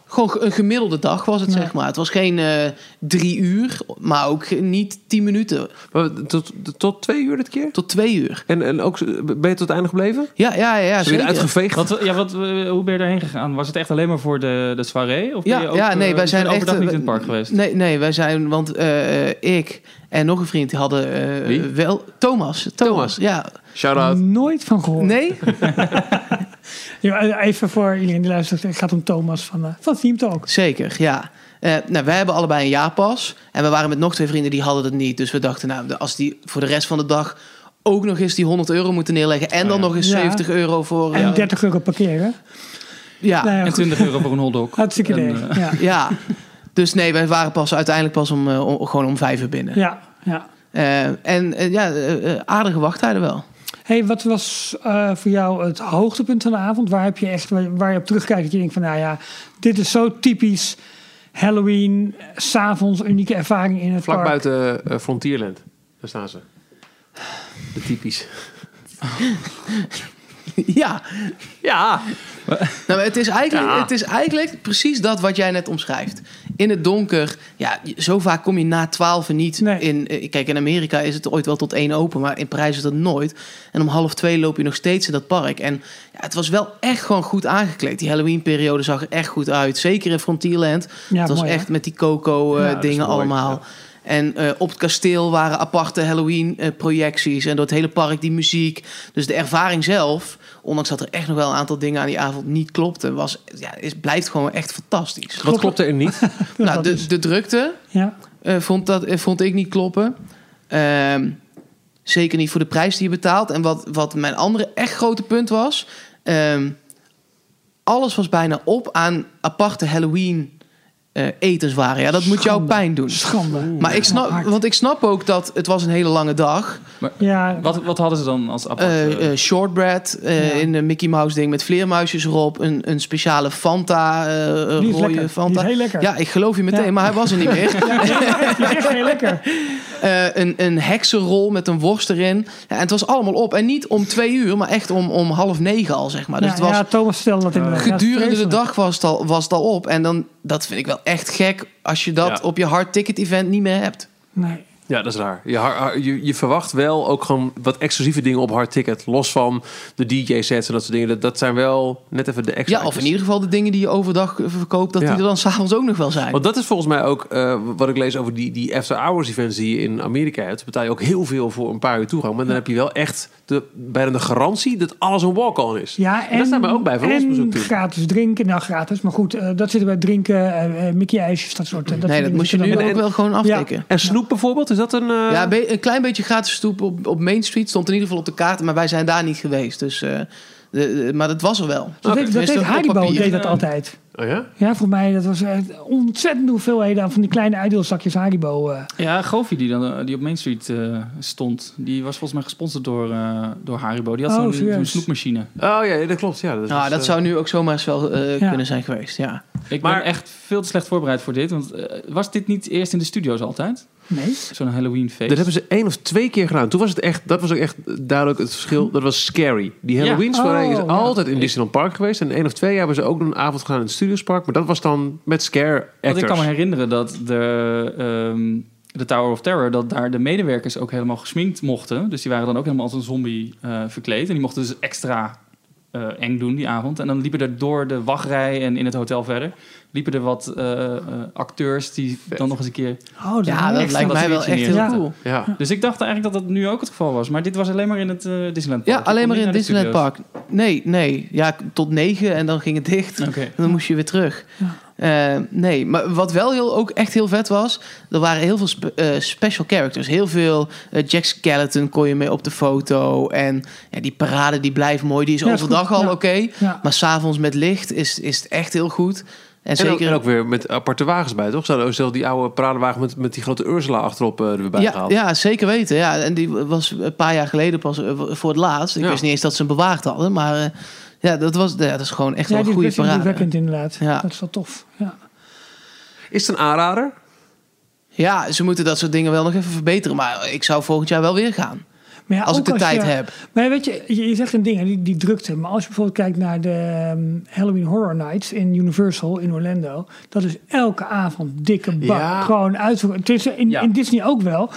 Gewoon ge- een gemiddelde dag was het, Nee. zeg maar. Het was geen eh, drie uur, maar ook ge- niet tien minuten. Maar tot, tot twee uur dit keer? Tot twee uur. En, en ook, ben je tot het einde gebleven? Ja, ja, ja, ja Ze werden zeker. uitgeveegd. Wat, ja, wat, eh, hoe ben je daarheen gegaan? Was het echt alleen maar voor de, de soirée? Of ben Ja, je ook, ja, nee, eh, wij zijn overdag echt, eh, niet in het park geweest. Nee, nee, wij zijn, want eh, eh, ik en nog een vriend die hadden eh, Wie? wel Thomas, Thomas. Thomas. Ja, Shout Nooit van gehoord. nee, Ja, Even voor iedereen die luistert. Het gaat om Thomas van, eh, van Team Talk. zeker, ja. Eh, nou, wij hebben allebei een jaarpas en we waren met nog twee vrienden die hadden het niet, dus we dachten, nou, de- als die voor de rest van de dag ook nog eens die 100 euro moeten neerleggen en dan ja. nog eens Ja. 70 euro voor, En eh, 30 euro parkeren. ja, Nou ja, en goed. 20 euro voor een hotdog. Hartstikke En, idee. eh, ja. ja. Dus nee, wij waren pas uiteindelijk pas om, eh, om- gewoon om vijf uur binnen. ja, ja. Eh, en eh, ja, eh, eh, aardige wachttijden wel. Hey, wat was eh, voor jou het hoogtepunt van de avond? Waar heb je echt waar, waar je op terugkijkt dat je denkt van nou ja, dit is zo typisch Halloween, eh, s'avonds unieke ervaring in het Vlak park. buiten eh, Frontierland. Daar staan ze. De typisch. ja. Ja. Nou, maar het, is eigenlijk, Ja. het is eigenlijk precies dat wat jij net omschrijft. In het donker, ja, zo vaak kom je na twaalf niet Nee. in. eh, Kijk, in Amerika is het ooit wel tot één open, maar in Parijs is dat nooit. En om half twee loop je nog steeds in dat park. En ja, het was wel echt gewoon goed aangekleed. Die Halloween-periode zag er echt goed uit. Zeker in Frontierland. Ja, het was mooi, hè? echt met die coco-dingen Ja, dat is mooi, allemaal. ja. En eh, op het kasteel waren aparte Halloween-projecties. en door het hele park die muziek. Dus de ervaring zelf, ondanks dat er echt nog wel een aantal dingen aan die avond niet klopten, was, ja, is, blijft gewoon echt fantastisch. Wat klopte er niet? Dus nou, dat de, is- de drukte ja. eh, vond, dat, eh, vond ik niet kloppen. Ehm, zeker niet voor de prijs die je betaalt. En wat, wat mijn andere echt grote punt was. ehm, alles was bijna op aan aparte Halloween eh, etenswaren. Ja, dat moet jou Schande. pijn doen. Schande. Maar ik snap, Hard. want ik snap ook dat het was een hele lange dag. ja, Wat, wat hadden ze dan als apart? Eh, eh, eh, shortbread eh, Ja. in de Mickey Mouse ding met vleermuisjes erop. Een, een speciale Fanta, eh die is rode lekker. Die Fanta. is heel lekker. Ja, ik geloof je meteen, Ja. maar hij was er niet meer. Die is echt heel lekker. Eh, een, een heksenrol met een worst erin. Ja, en het was allemaal op. En niet om twee uur, maar echt om, om half negen al, zeg maar. Dus ja, het was, Nou ja, Thomas stelde dat in de gedurende de dag was het, al, was het al op. En dan, dat vind ik wel echt gek als je dat Ja. op je hard ticket event niet meer hebt. Nee. Ja, dat is raar. Je, har- har- je, je verwacht wel ook gewoon wat exclusieve dingen op hard ticket. Los van de DJ-sets en dat soort dingen. Dat, dat zijn wel net even de extra. Ja, of in niet. ieder geval de dingen die je overdag eh, verkoopt, dat Ja. die er dan s'avonds ook nog wel zijn. Want dat is volgens mij ook eh, wat ik lees over die, die after-hours events die je in Amerika hebt. Daar betaal je ook heel veel voor een paar uur toegang. Maar dan heb je wel echt de, bijna de garantie dat alles een walk-on is. Ja, en, dat staat mij ook bij voor ons bezoek en toe. gratis drinken. Nou, gratis. Maar goed, eh, dat zit er bij drinken. eh, eh, Mickey-ijsjes, dat soort. eh, dat nee, soort dat dingen moest je zitten er nu dan ook bij. wel gewoon aftikken. En snoep bijvoorbeeld, is dat een... eh, Ja, be- een klein beetje gratis stoep op, op Main Street stond in ieder geval op de kaart, maar wij zijn daar niet geweest. Dus, eh, de, de- maar dat was er wel. Dat, deed- dat Tenminste, deed dus op Haribo, papier. deed dat altijd. oh ja? Ja, voor mij, dat was echt ontzettend hoeveelheden aan van die kleine uitdeelzakjes Haribo. eh. ja, Goofy die, dan, eh, die op Main Street eh, stond, die was volgens mij gesponsord door, eh, door Haribo. Die had Oh, zo'n- zo'n serieus? snoepmachine. Oh ja, dat klopt. Ja, dat, Nou, is, dat eh, zou nu ook zomaar eens wel eh, Ja. kunnen zijn geweest, ja. Ik Maar- ben echt veel te slecht voorbereid voor dit. Want eh, was dit niet eerst in de studio's altijd? Nee. Zo'n Halloween feest. Dat hebben ze één of twee keer gedaan. Toen was het echt, dat was ook echt duidelijk het verschil. Dat was scary. Die Ja. Halloween soirée is Oh, ja. altijd in Disneyland Park geweest. En één of twee jaar hebben ze ook een avond gedaan in het Studiospark. Maar dat was dan met scare Want ik actors. kan me herinneren dat de, ehm, de Tower of Terror, dat daar de medewerkers ook helemaal gesminkt mochten. Dus die waren dan ook helemaal als een zombie eh, verkleed. En die mochten dus extra eh, eng doen die avond. En dan liepen er door de wachtrij en in het hotel verder... liepen er wat eh, eh, acteurs die dan nog eens een keer... Oh, dat Ja, dat Extra lijkt mij wel dat echt sfeertje heel neer. cool. Ja. Dus ik dacht eigenlijk dat dat nu ook het geval was. Maar dit was alleen maar in het eh, Disneyland Park. Ja, Je kon alleen maar niet naar in de Disneyland studio's. Park. Nee, nee. Ja, tot negen en dan ging het dicht. Oké. En dan moest je weer terug. Ja. Eh, nee, maar wat wel heel, ook echt heel vet was... er waren heel veel spe- eh, special characters. Heel veel eh, Jack Skeleton kon je mee op de foto. En ja, die parade die blijft mooi. Die is Ja, is overdag goed. al Ja. oké. Ja. Maar s'avonds met licht is, is het echt heel goed. En, En ook, zeker... en ook weer met aparte wagens bij, toch? Ze hadden ook zelf die oude paradewagen met, met die grote Ursula achterop eh, er weer bij ja, gehaald. ja, zeker weten. Ja. En die was een paar jaar geleden pas eh, voor het laatst. Ik Ja. wist niet eens dat ze hem bewaard hadden. Maar eh, ja, dat, was, ja, dat is gewoon echt Ja, wel die een is goede best parade. indrukwekkend inderdaad. Ja. Dat is wel tof. Ja. Is het een aanrader? Ja, ze moeten dat soort dingen wel nog even verbeteren. Maar ik zou volgend jaar wel weer gaan. Maar ja, als ik ook de tijd je- heb. Maar weet je, je je zegt een ding, hè, die, die drukte. Maar als je bijvoorbeeld kijkt naar de ehm, Halloween Horror Nights in Universal in Orlando. Dat is elke avond dikke bak. Ja. Gewoon uitvoeren. Het is in, Ja. in Disney ook wel.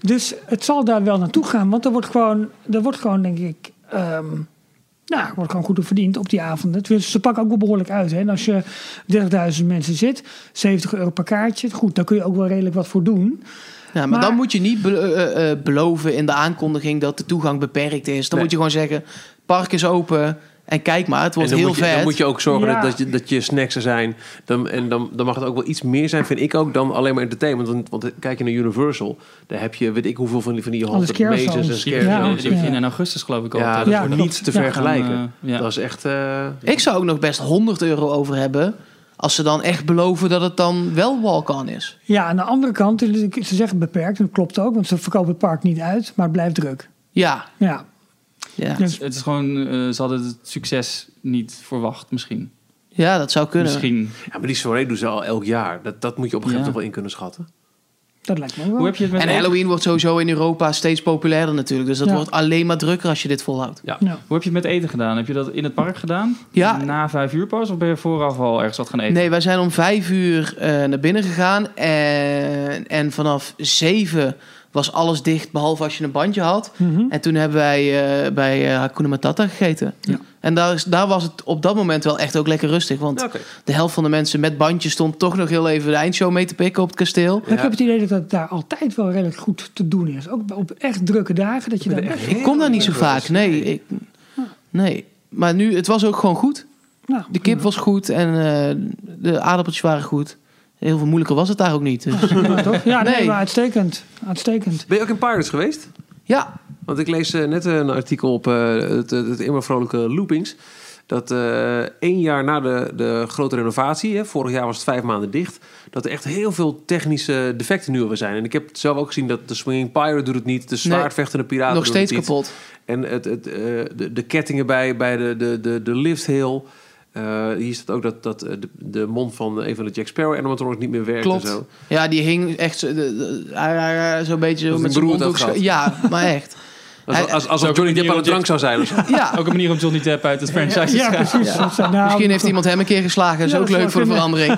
Dus het zal daar wel naartoe gaan. Want er wordt gewoon, er wordt gewoon denk ik... ehm, nou, er wordt gewoon goed op verdiend op die avonden. Tenminste, ze pakken ook wel behoorlijk uit. Hè? En als je 30.000 mensen zit, 70 euro per kaartje. Goed, daar kun je ook wel redelijk wat voor doen. Ja, maar, Maar- dan moet je niet be- eh, eh, beloven in de aankondiging dat de toegang beperkt is. Dan Nee. moet je gewoon zeggen, park is open en kijk maar, het wordt en dan, heel moet je, vet. dan moet je ook zorgen Ja. dat, dat, je, dat je snacks er zijn. Dan, en dan, dan mag het ook wel iets meer zijn, vind ik ook, dan alleen maar entertainment. Want, want kijk je naar Universal, daar heb je weet ik hoeveel van die, van die Alle haunted scare mazes en zones. Die scare Ja. zones. die beginnen in augustus geloof ik al. Ja, te- dat Ja, wordt klopt. niet te Ja. vergelijken. Gaan, eh, ja. Dat is echt... eh, Ik zou ook nog best 100 euro over hebben als ze dan echt beloven dat het dan wel walk-on is. Ja, aan de andere kant, ze zeggen beperkt, en dat klopt ook, want ze verkopen het park niet uit, maar het blijft druk. Ja, Ja, ja. Ja. Het is gewoon, eh, ze hadden het succes niet verwacht misschien. ja dat zou kunnen. Misschien. Ja, maar die soirée doen ze al elk jaar. Dat, dat moet je op een gegeven moment Ja. toch wel in kunnen schatten. dat lijkt me ook wel. Hoe heb je het met En Halloween wordt sowieso in Europa steeds populairder natuurlijk. Dus dat Ja. wordt alleen maar drukker als je dit volhoudt. Ja. Nou, Hoe heb je het met eten gedaan? Heb je dat in het park gedaan? Ja. Na vijf uur pas? Of ben je vooraf al ergens wat gaan eten? Nee, wij zijn om vijf uur eh, naar binnen gegaan. En, en vanaf zeven was alles dicht, behalve als je een bandje had. Mhm. En toen hebben wij eh, bij eh, Hakuna Matata gegeten. Ja. En daar, is- daar was het op dat moment wel echt ook lekker rustig. Want Oké. de helft van de mensen met bandje stond toch nog heel even de eindshow mee te pikken op het kasteel. Maar ik heb het idee dat het daar altijd wel redelijk goed te doen is. Ook op echt drukke dagen, dat je daar best... Ik kom daar niet zo vaak. Nee, ik, nee. Maar nu, het was ook gewoon goed. Nou, De kip was goed en eh, de aardappeltjes waren goed. Heel veel moeilijker was het daar ook niet. Dus. prima, toch? Ja, nee, Nee. maar uitstekend. Uitstekend. Ben je ook in Pirates geweest? Ja, Want ik lees eh, net een artikel op eh, het, het, het immer vrolijke Loopings. Dat eh, één jaar na de, de grote renovatie, hè, vorig jaar was het vijf maanden dicht, dat er echt heel veel technische defecten nu alweer zijn. En ik heb zelf ook gezien dat de Swinging Pirate doet het niet, de zwaardvechtende piraten nog doen steeds het niet. kapot. En het, het, eh, de, de kettingen bij, bij de, de, de, de lifthill. Eh, hier staat ook dat, dat eh, de, de mond van een van de Jack Sparrow animatronics niet meer werkt Klopt. en zo. Ja, die hing echt zo- de- de- ah, ah, ah, zo'n beetje zo Dat met een zijn broer mond dat ook zo- gehad. Ja, maar echt. Als, als, Hij- als, alsof Johnny Depp aan de drank zou zijn. of zo. Ja, Ook een manier om Johnny Depp uit het franchise te Ja, schrijven. precies. Dat zijn- nou, misschien heeft iemand hem een keer geslagen. Dat is Ja, ook dat leuk zou voor de verandering.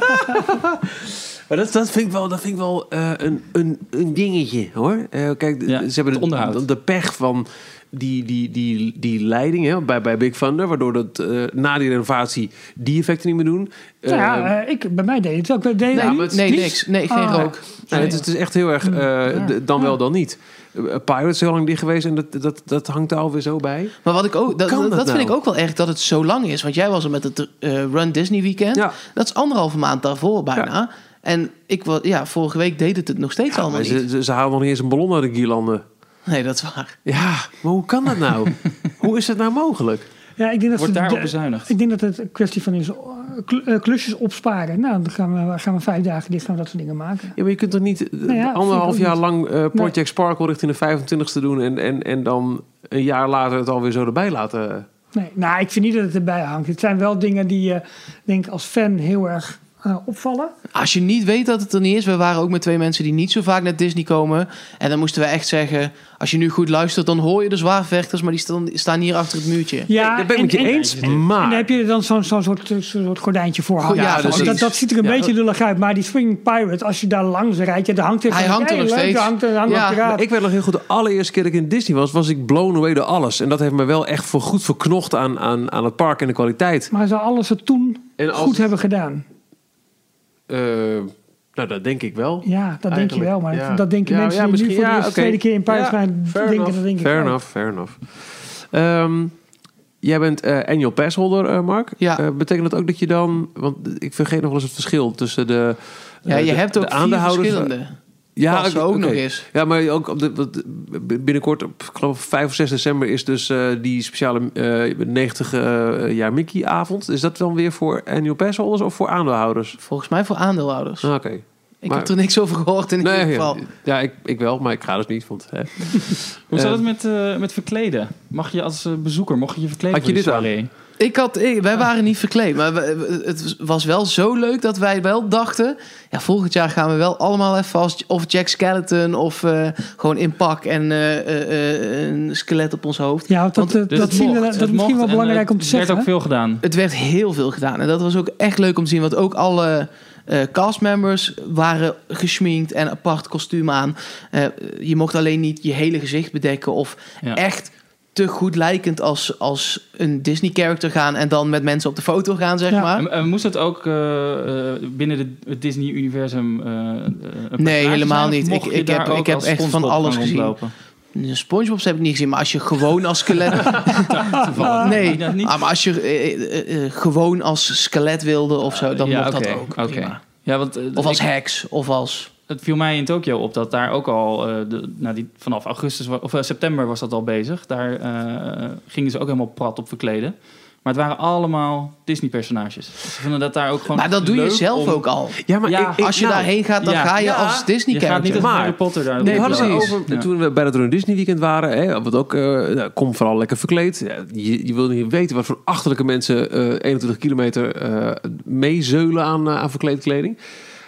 Maar dat, dat vind ik wel, dat vind ik wel eh, een, een, een dingetje hoor. Eh, kijk, Ja, ze hebben het onderhoud. De, de pech van die, die, die, die leiding hè, bij, bij Big Thunder, waardoor dat eh, na die renovatie die effecten niet meer doen. Nou ja, Eh, eh, ik, bij mij deed het ook. Deed het Nee, niet? maar- nee, Niet? niks. Nee, geen Ah. rook. nou, het, is, het is echt heel erg eh, d- dan wel, dan niet. Eh, Pirates is heel lang dicht geweest en dat, dat, dat hangt er alweer zo bij. Maar wat ik ook, dat, kan dat, dat vind nou? ik ook wel erg dat het zo lang is. Want jij was er met het eh, Run Disney Weekend. Ja. Dat is anderhalve maand daarvoor bijna. En ik was, ja, vorige week deed het het nog steeds allemaal Maar niet. ze, ze, ze halen nog niet eens een ballon uit de gielanden. Nee, dat is waar. Ja, maar hoe kan dat nou? hoe is dat nou mogelijk? Ja, ik denk dat Wordt ze- daarop de- bezuinigd. Ik denk dat het een kwestie van is eh, kl- eh, klusjes opsparen. Nou, dan gaan we, gaan we vijf dagen dicht gaan we dat soort dingen maken. Ja, maar je kunt toch niet eh, Nou ja, vind anderhalf ik ook jaar niet. lang eh, Project Sparkle richting de 25ste doen en, en, en dan een jaar later het alweer zo erbij laten. eh, Nee, nou, ik vind niet dat het erbij hangt. Het zijn wel dingen die je, denk ik, als fan heel erg eh, opvallen. Als je niet weet dat het er niet is, we waren ook met twee mensen die niet zo vaak naar Disney komen. En dan moesten we echt zeggen: als je nu goed luistert, dan hoor je de zwaarvechters, maar die staan- staan hier achter het muurtje. Ja, dat ben ik Ah, en- met je en- eens, En dan maar... heb je dan zo'n zo'n soort, eh, zo'n soort gordijntje voor hangen. Ja, Ja, precies. dat, dat ziet er een Ja. beetje lullig uit. Maar die Swing Pirate, als je daar langs rijdt, ja, daar hangt er Hij van, hangt er hey, nog leuk, steeds. daar hangt er hangt Ja, een piraat. Ik weet nog heel goed, de allereerste keer dat ik in Disney was, was ik blown away door alles. En dat heeft me wel echt voor goed verknocht aan, aan, aan het park en de kwaliteit. Maar zou alles het toen En als- goed hebben gedaan? Eh, nou, dat denk ik wel. Ja, dat denk je Eigenlijk, wel. Maar ja. dat denken Ja, mensen ja, die nu misschien- voor de ja, eerste oké. tweede keer in Parijs Ja, zijn, fair denken enough, dat denk ik Fair wel. enough, fair enough. Ehm, jij bent eh annual passholder, eh, Mark. Ja. Eh, betekent dat ook dat je dan... Want ik vergeet nog wel eens het verschil tussen de... Ja, eh, je de- hebt de ook vier aandeelhouders- verschillende. Ja, Passen oké, ook oké. nog eens. Ja, maar ook op de, wat- binnenkort, op, ik geloof 5 of 6 december, is dus eh, die speciale 90 eh, jaar Mickey-avond. Is dat dan weer voor annual passholders of voor aandeelhouders? Volgens mij voor aandeelhouders. Ah, Oké. ik maar- heb er niks over gehoord in ieder Nee, geval. ja, ja ik, ik wel, maar ik ga dus niet. Want, hè. Hoe Eh, zat het met, eh, met verkleden? Mag je als eh, bezoeker, mocht je je verkleden Had je voor die dit aan? soirée? Ik had, ik- wij waren niet verkleed, maar we- we- het was wel zo leuk dat wij wel dachten... Ja, volgend jaar gaan we wel allemaal even als of Jack Skeleton of eh, gewoon in pak en eh, eh, eh, een skelet op ons hoofd. Ja, want dat, Want eh, Dus dat, het zien we, mocht, dat het is misschien mocht wel en belangrijk het om te zeggen. werd ook hè? veel gedaan. Het werd heel veel gedaan en dat was ook echt leuk om te zien. Want ook alle eh, castmembers waren geschminkt en apart kostuum aan. Eh, je mocht alleen niet je hele gezicht bedekken of Ja. echt te goed lijkend als, als een Disney-character gaan... en dan met mensen op de foto gaan, zeg Ja. maar. En, en moest het ook eh, eh, binnen de- het Disney-universum? eh, eh, een personage zijn, helemaal of niet. mocht Ik- je ik daar heb- ook ik heb als echt van SpongeBob alles gaan gezien. rondlopen? De SpongeBob's heb ik niet gezien, maar als je gewoon als skelet. nee, dat niet. Ah, maar als je eh, eh, eh, gewoon als skelet wilde of zo, dan ja, mocht oké, dat ook. oké. prima. Ja, want, eh, Of als ik- heks, of als. het viel mij in Tokio op dat daar ook al, eh, de, nou die, vanaf augustus wa- of eh, september was dat al bezig. Daar eh, gingen ze ook helemaal prat op verkleden. Maar het waren allemaal Disney-personages. Ze vinden dat daar ook gewoon. Maar dat doe je leuk zelf om- ook al. Ja, maar Ja, ik- ik- als je nou, daarheen gaat, dan ja. ga je Ja, als Disney Je gaat niet character. als Maar- Harry Potter daar. Nee, we hadden het precies. over Ja. toen we bij het Run Disney weekend waren. Hè, wat ook, eh, nou, kom vooral lekker verkleed. Ja, je, je wil niet weten wat voor achterlijke mensen eh, 21 kilometer eh meezeulen aan, eh, aan verkleed kleding.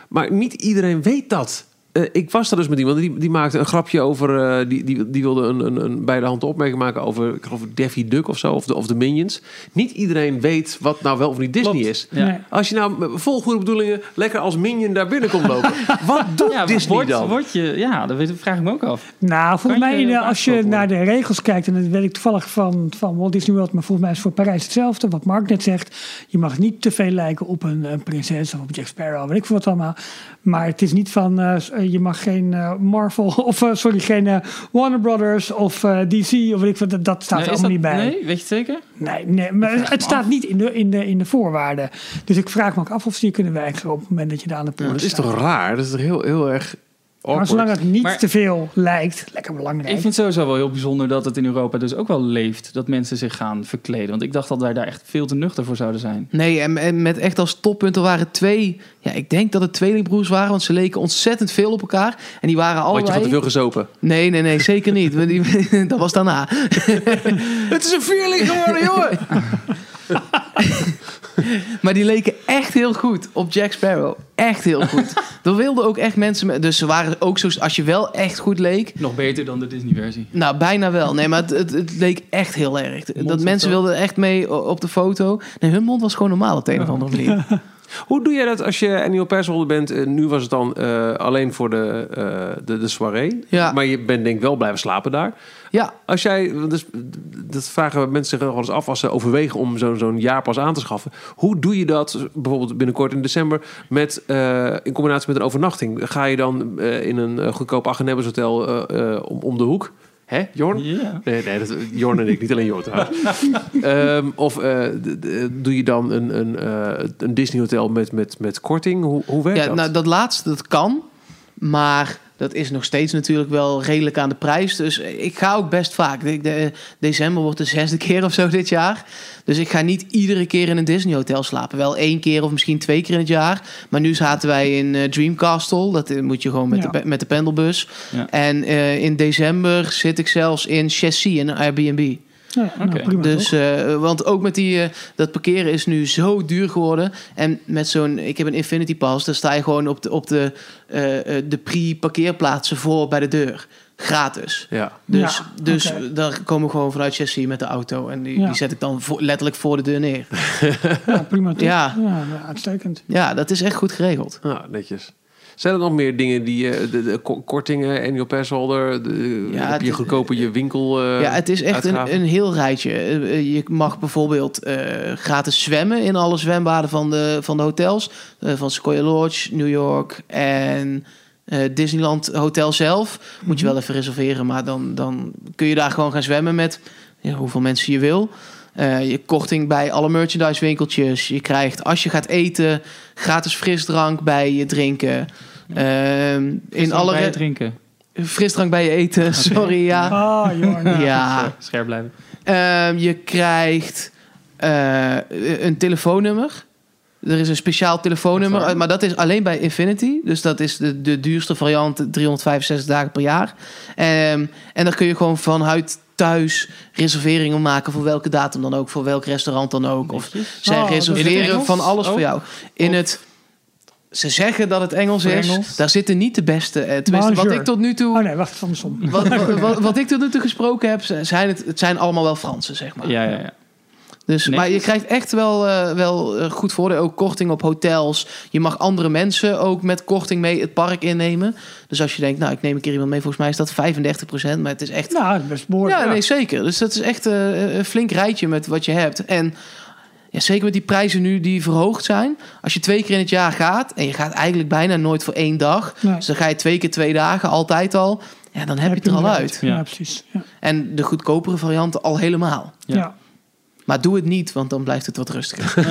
Maar niet iedereen weet dat. Eh, ik was daar dus met iemand die, die maakte een grapje over. eh, die, die, die wilde een, een, een bij de hand opmerking maken over. Ik geloof Daffy Duck of zo. Of de, of de Minions. Niet iedereen weet wat nou wel of niet Disney Klopt. is. Ja. Nee. Als je nou met vol goede bedoelingen lekker als Minion daar binnen komt lopen. wat doet Ja, Disney word, dan? word je, ja, dat weet- dat vraag ik me ook af. Nou, volgens Kan je mij, eh, als je aankopen? naar de regels kijkt, en dat weet ik toevallig van, van Walt Disney World, maar volgens mij is het voor Parijs hetzelfde. Wat Mark net zegt, je mag niet te veel lijken op een, eh, prinses of op Jack Sparrow, weet ik veel wat allemaal. Maar het is niet van, eh, s- eh, je mag geen eh, Marvel, of eh, sorry, geen eh, Warner Brothers of eh, DC, of weet ik wat, dat, dat staat Nee, er allemaal is dat- niet bij. Nee, weet je het zeker? Nee, nee maar het staat niet in de, in, de, in de voorwaarden. Dus ik vraag me ook af of ze hier kunnen weigeren op het moment dat je daar aan de Ja, poort maar het is staat. toch raar? Dat is toch heel, heel erg maar awkward? zolang het niet Maar- te veel lijkt, lekker Ik belangrijk. vind het sowieso wel heel bijzonder dat het in Europa dus ook wel leeft. Dat mensen zich gaan verkleden. Want ik dacht dat wij daar echt veel te nuchter voor zouden zijn. Nee, en, en met echt als toppunt, er waren twee. Ja, ik denk dat het tweelingbroers waren, want ze leken ontzettend veel op elkaar. En die waren Want je had allebei. te veel gezopen. Nee, nee, nee, zeker niet. want die- dat was daarna. Het is een vierling geworden, jongen! Maar die leken echt heel goed op Jack Sparrow. Echt heel goed. Er wilden ook echt mensen... Met, dus ze waren ook zo... Als je wel echt goed leek... Nog beter dan de Disney-versie. Nou, bijna wel. Nee, maar het, het, het leek echt heel erg. dat was mensen wel- wilden echt mee o- op de foto. Nee, hun mond was gewoon normaal op de een Oh. of andere manier. Hoe doe jij dat als je annual persholder bent? Eh, Nu was het dan eh, alleen voor de, eh, de, de soirée. Ja. Maar je bent denk ik wel blijven slapen daar. Ja, Als jij, want dus, dat vragen mensen zich wel eens af als ze overwegen om zo'n zo'n jaarpas aan te schaffen. Hoe doe je dat bijvoorbeeld binnenkort in december met, eh, in combinatie met een overnachting? Ga je dan eh, in een eh, goedkoop Agenebbers hotel eh, eh, om, om de hoek? Hè, Jorn? Ja. Nee, nee dat, Jorn en ik, niet alleen Jorn trouwens. Ehm, of eh, d- d- doe je dan een, een, eh, een Disney hotel met, met, met korting? Hoe, hoe werkt ja dat? nou, dat laatste, dat kan. Maar dat is nog steeds natuurlijk wel redelijk aan de prijs. Dus ik ga ook best vaak. Ik- de- december wordt de zesde keer of zo dit jaar. Dus ik ga niet iedere keer in een Disney hotel slapen. Wel één keer of misschien twee keer in het jaar. Maar nu zaten wij in eh, Dream Castle. Dat eh, moet je gewoon met, Ja. de, pe- met de pendelbus. Ja. En eh, in december zit ik zelfs in Chessy, in een Airbnb. Ja, nou, Oké. prima Dus, toch? eh, want ook met die, eh, dat parkeren is nu zo duur geworden. En met zo'n, ik heb een Infinity Pass, dan sta je gewoon op de, op de, eh, eh, de pre-parkeerplaatsen voor bij de deur. Gratis. Ja. Dus, Ja, dus oké. daar komen we gewoon vanuit Chelsea met de auto. En die, Ja. die zet ik dan voor- letterlijk voor de deur neer. ja, prima toch? ja. Ja. ja, uitstekend. Ja, dat is echt goed geregeld. Ah, netjes. Zijn er nog meer dingen die eh, de, de ko- kortingen, annual passholder, de, Ja, heb je het- goedkoper je winkel? eh, ja, het is echt een, uitgaven? een heel rijtje. Eh, eh, Je mag bijvoorbeeld eh, gratis zwemmen in alle zwembaden van de, van de hotels. Eh, van Sequoia Lodge, New York en eh, Disneyland Hotel zelf. Moet je wel even reserveren, maar dan, dan kun je daar gewoon gaan zwemmen met ja, hoeveel mensen je wil. Eh, je korting bij alle merchandise winkeltjes. Je krijgt, als je gaat eten, gratis frisdrank bij je drinken. Ehm, in alle Bij re- het drinken. frisdrank bij je eten, sorry ja. Ah, joh. nou. Ja, Scherp blijven. Ehm, je krijgt eh, een telefoonnummer. Er is een speciaal telefoonnummer, Echt waar? eh, maar dat is alleen bij Infinity. Dus dat is de, de duurste variant, 365 dagen per jaar. Ehm, en dan kun je gewoon vanuit thuis reserveringen maken voor welke datum dan ook, voor welk restaurant dan ook. Of zij Oh, dat is in het reserveren Engels? van alles Oh. voor jou. In Of- het, ze zeggen dat het Engels Voor is. Engels? Daar zitten niet de beste. eh, tenminste, wat Manager. ik tot nu toe Oh nee, wacht, het andersom. wat, wat, wat- wat ik tot nu toe gesproken heb, zijn het, het zijn allemaal wel Fransen, zeg maar. Ja, ja, ja. dus, maar je netjes. krijgt echt wel, eh, wel eh, goed voordeel. Ook korting op hotels. Je mag andere mensen ook met korting mee het park innemen. Dus als je denkt, nou, ik neem een keer iemand mee. Volgens mij is dat 35%, maar het is echt... Nou, dat is best behoorlijk. ja, nee, zeker. Dus dat is echt eh, een flink rijtje met wat je hebt. En ja, zeker met die prijzen nu die verhoogd zijn. Als je twee keer in het jaar gaat... en je gaat eigenlijk bijna nooit voor één dag... Nee. dus dan ga je twee keer twee dagen, altijd al... ja, dan heb, je het er hem al eruit. uit. Ja, Ja. precies. Ja. En de goedkopere varianten al helemaal. Ja. Ja. Maar doe het niet, want dan blijft het wat rustiger.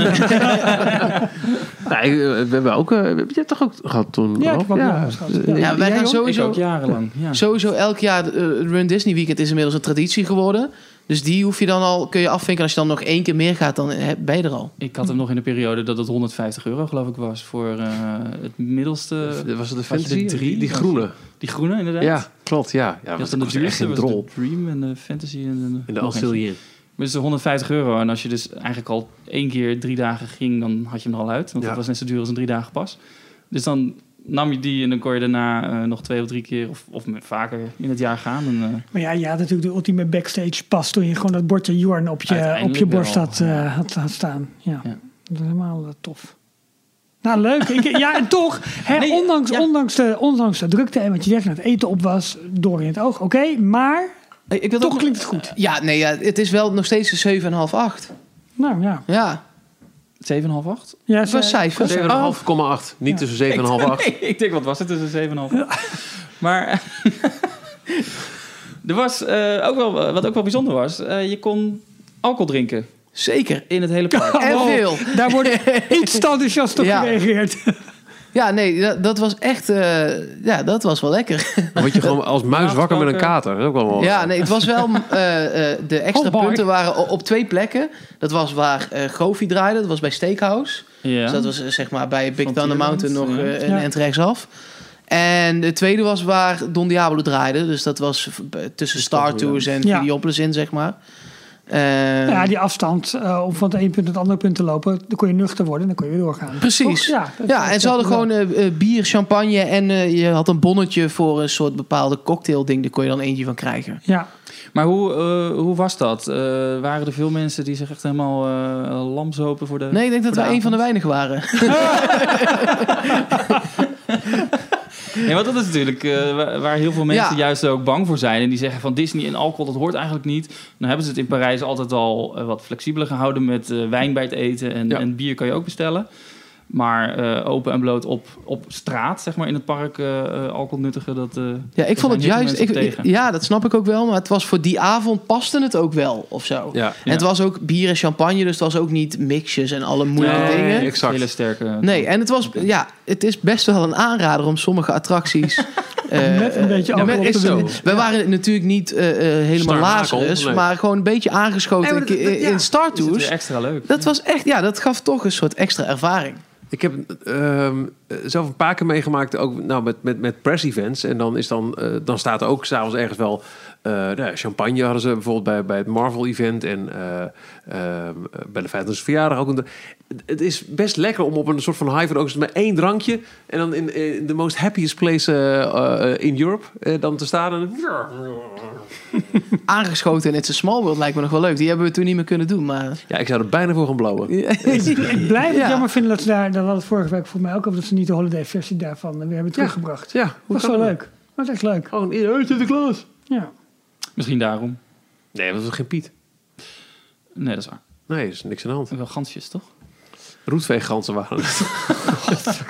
Nee, eh, we hebben ook, eh, je hebt toch ook gehad toen? Ja, ik Ralf? heb ook nog eens gehad. Ja. Ja, wij Jij, gaan Jon? Ik sowieso, ook jarenlang. Ja. sowieso elk jaar... eh, Run Disney Weekend is inmiddels een traditie geworden. Dus die hoef je dan al, kun je afvinken. Als je dan nog één keer meer gaat, dan heb- ben je er al. Ik had hem nog in de periode dat het 150 euro geloof ik was voor eh, het middelste. eh, Was het de je de fantasy? drie? Die, die groene. Die groene inderdaad. Ja, klopt. Ja, ja Dat was dan de was echt duurste een was het drol. de Dream en de Fantasy en In de nog eentje. Alcilien. Maar het is 150 euro. En als je dus eigenlijk al één keer drie dagen ging, dan had je hem er al uit. Want Ja. dat was net zo duur als een drie dagen pas. Dus dan nam je die en dan kon je daarna eh, nog twee of drie keer of, of met- vaker in het jaar gaan. En, eh, Maar ja, je had natuurlijk de ultieme backstage pas toen je gewoon dat bordje Jorn op je, op Uiteindelijk je borst wel. had, eh, had, had staan. Ja. Ja. Dat is helemaal eh, tof. Nou, leuk. Ik, ja, en toch, hè, Nee, ondanks, ja. ondanks, de, ondanks de drukte en wat je zegt, dat het eten op was, door in het oog, oké, maar Eh, Ik wil toch ook- klinkt het goed. Ja, nee, ja, het is wel nog steeds een 7,5, 8. Nou ja. Ja, 7,5, 8? ja het was ze- cijfer. 7,5,8. Niet tussen 7 en half 8. Nee, ik denk, wat was het tussen 7,5? Maar eh, er was eh, ook wel, wat ook wel bijzonder was, eh, je kon alcohol drinken Oh, Zeker. in het hele park. En Wow. veel. Daar wordt iets te enthousiast op Ja. gereageerd. Ja, nee, dat, dat was echt... eh, ja, dat was wel lekker. Dan word je gewoon als muis wakker met een kater. Dat is ook wel mooi. Ja, nee, het was wel. eh, eh, de extra Oh, boy. punten waren o- op twee plekken. Dat was waar eh Goofy draaide, dat was bij Steakhouse. Ja. Dus dat was eh, zeg maar bij Big Van Thunder Tierland, Mountain nog ja. eh, Ja. een end rechtsaf. En de tweede was waar Don Diablo draaide. Dus dat was v- b- tussen Star Tours en Ja. Videopolis in, zeg maar. Eh, Ja, die afstand eh, om van het ene punt naar het andere punt te lopen, dan kon je nuchter worden en dan kon je weer doorgaan. Precies. Toch? Ja, dat- Ja, en dat- ze hadden dat- gewoon eh, eh, bier, champagne en eh, je had een bonnetje voor een soort bepaalde cocktailding. Daar kon je dan eentje van krijgen. Ja, Maar hoe, eh, hoe was dat? Eh, waren er veel mensen die zich echt helemaal eh lamshopen voor de... Nee, ik denk dat Voor de wij een van de avond. weinigen waren. Nee, want dat is natuurlijk eh, waar- waar heel veel mensen Ja. juist ook bang voor zijn. En die zeggen van Disney en alcohol, dat hoort eigenlijk niet. Dan hebben ze het in Parijs altijd al eh, wat flexibeler gehouden met eh, wijn bij het eten. En, Ja. en bier kan je ook bestellen. Maar eh, open en bloot op, op straat, zeg maar, in het park eh, eh, alcohol nuttigen, dat... eh, Ja, ik Daar vond zijn het heel juist. veel Ik, mensen ik- tegen. ja, dat snap ik ook wel. Maar het was voor die avond paste het ook wel of zo. Ja. En het was ook bier en champagne, dus het was ook niet mixjes en alle moeilijke Nee, dingen. exact. Hele sterke... Nee, en het was, ja, het is best wel een aanrader om sommige attracties. eh, Met een eh, beetje ja, alcohol met- op is te zo. winnen. We waren natuurlijk niet eh, eh, helemaal Starmakel, Lazarus, nee. maar gewoon een beetje aangeschoten Nee, maar dat- in- dat- ja. in Star Is het weer Tours. extra leuk. Dat was echt, ja, dat gaf toch een soort extra ervaring. Ik heb ehm, eh, zelf een paar keer meegemaakt, ook nou, met, met, met press events. En dan, is dan, eh, dan staat er ook s'avonds ergens wel eh, nou, ja, champagne hadden ze bijvoorbeeld bij, bij het Marvel event en eh, ehm, bij de 50 verjaardag ook. een- Het is best lekker om op een soort van high van ook eens met één drankje en dan in, in the most happiest place eh, eh, in Europe eh, dan te staan. En, Aangeschoten in It's a Small World lijkt me nog wel leuk. Die hebben we toen niet meer kunnen doen, maar... ja, ik zou er bijna voor gaan blauwen. Ik blijf het Ja. jammer vinden dat ze daar, dat we het vorige week voor mij ook over, dat ze niet de holiday versie daarvan weer hebben teruggebracht. Dus Ja, hoe Dat was kan wel dat? leuk. Dat was echt leuk. Gewoon in hey, Sinterklaas. Ja. Misschien daarom. Nee, dat was geen Piet. Nee, dat is waar. Nee, er is niks aan de hand. Wel gansjes, toch? Roetveegganzen waren het.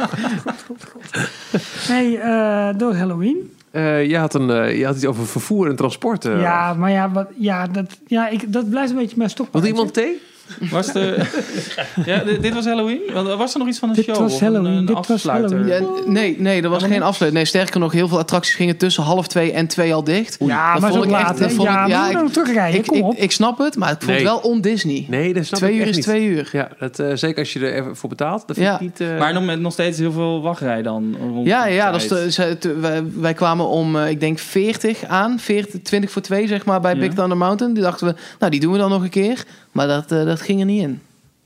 Hey, eh, door Halloween. Eh, je, had een, eh, je had iets over vervoer en transport. eh. Ja, maar ja, wat, ja, dat, ja ik, dat blijft een beetje mijn Wil stokpaardje. iemand thee? Was de... ja, dit, dit was Halloween? Want eh, Was er nog iets van een Dit show? was of een- Halloween, Een, dit was afsluiter? Halloween. Ja, nee, nee, er was geen afsluit. Nee, sterker nog, heel veel attracties gingen tussen half twee en twee al dicht. Ja, Dat maar zo vond ik echt- laat. hè? dat vond ik- Ja, ja, maar we ik- moeten terugrijden. ik, Kom ik, op. ik snel snap het, maar ik vond Nee. het wel on-Disney. Nee, dat snap twee ik uur echt is niet. twee uur. Ja, dat, eh, zeker als je er even voor betaalt. Dat vind Ja. ik niet... eh, Maar nog, met nog steeds heel veel wachtrij dan. rond Ja, die ja dat is tijd. de- ze- te- wij, wij kwamen om, eh, ik denk, 40 aan. 40, 20 voor 2, zeg maar, bij Ja. Big Thunder Mountain. Die dachten we, nou, die doen we dan nog een keer. Maar dat, eh, dat ging er niet in.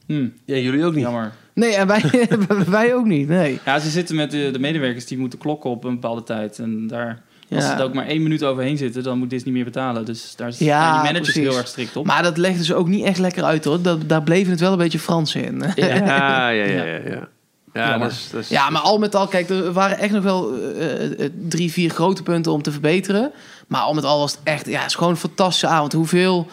Hm, Ja, jullie ook niet. jammer. Nee, en wij, wij ook niet, nee. Ja, ze zitten met de, de medewerkers die moeten klokken op een bepaalde tijd. En daar, als Ja. ze er ook maar één minuut overheen zitten, dan moet Disney meer betalen. Dus daar zijn Ja, die managers precies. heel erg strikt op. Maar dat legden ze ook niet echt lekker uit, hoor. Dat, daar bleven het wel een beetje Frans in. Ja, ja, ja. ja, ja, ja. Jammer. dat is, dat is- Ja, maar al met al, kijk, er waren echt nog wel eh, eh, drie, vier grote punten om te verbeteren. Maar al met al was het echt, ja, het is gewoon een fantastische avond. Hoeveel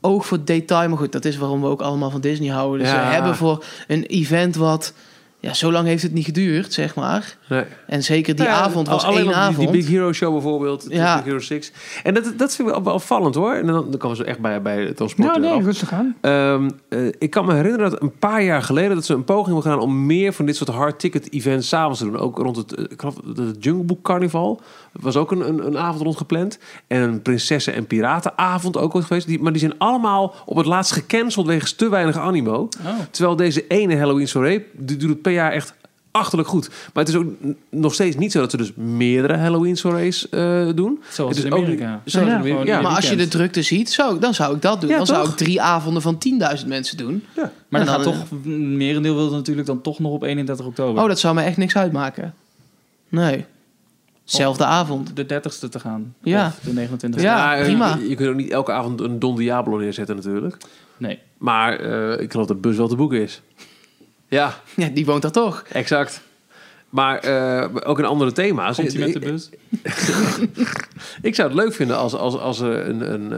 oog voor detail, maar goed, dat is waarom we ook allemaal van Disney houden. Dus Ja. we hebben voor een event wat, ja, zo lang heeft het niet geduurd, zeg maar. Nee. En zeker die Ja, avond was al- alleen één al die- avond. Die Big Hero Show bijvoorbeeld, de Ja. Big Hero 6. En dat, dat vind ik wel- wel opvallend hoor. En dan, dan komen ze echt bij, bij het transport Nou eh, nee, af. rustig aan. Ehm, eh, ik kan me herinneren dat een paar jaar geleden dat ze een poging hebben gedaan om meer van dit soort hard ticket events s'avonds te doen. Ook rond het, eh, ik geloof dat het Jungle Book Carnival was ook een, een, een avond rond gepland. En een prinsessen- en piratenavond ook ooit geweest. Die, maar die zijn allemaal op het laatst gecanceld wegens te weinig animo. Oh. Terwijl deze ene Halloween soirée, die doet het per jaar echt achterlijk goed. Maar het is ook n- nog steeds niet zo dat ze dus meerdere Halloween soirées eh, doen. Zoals het in is ook Amerika. niet- zoals in Ja, Amerika, gewoon ja. maar als je de weekend. drukte ziet, zou, dan zou ik dat doen. Ja, dan zou toch? ik drie avonden van 10.000 mensen doen. Ja. Maar En dan gaat dan, toch, een merendeel wil het natuurlijk dan toch nog op 31 oktober. Oh, dat zou me echt niks uitmaken. Nee. Zelfde avond. De 30ste te gaan. Ja. Of de 29ste. Ja, Maar, eh, prima. Je, kunt ook niet elke avond een Don Diablo neerzetten natuurlijk. Nee. Maar eh, ik geloof dat bus wel te boeken is. Ja, Ja, die woont daar toch. exact. Maar eh, ook in andere thema's. Komt hij met de Ik- bus? Ik zou het leuk vinden als, als, als er een... een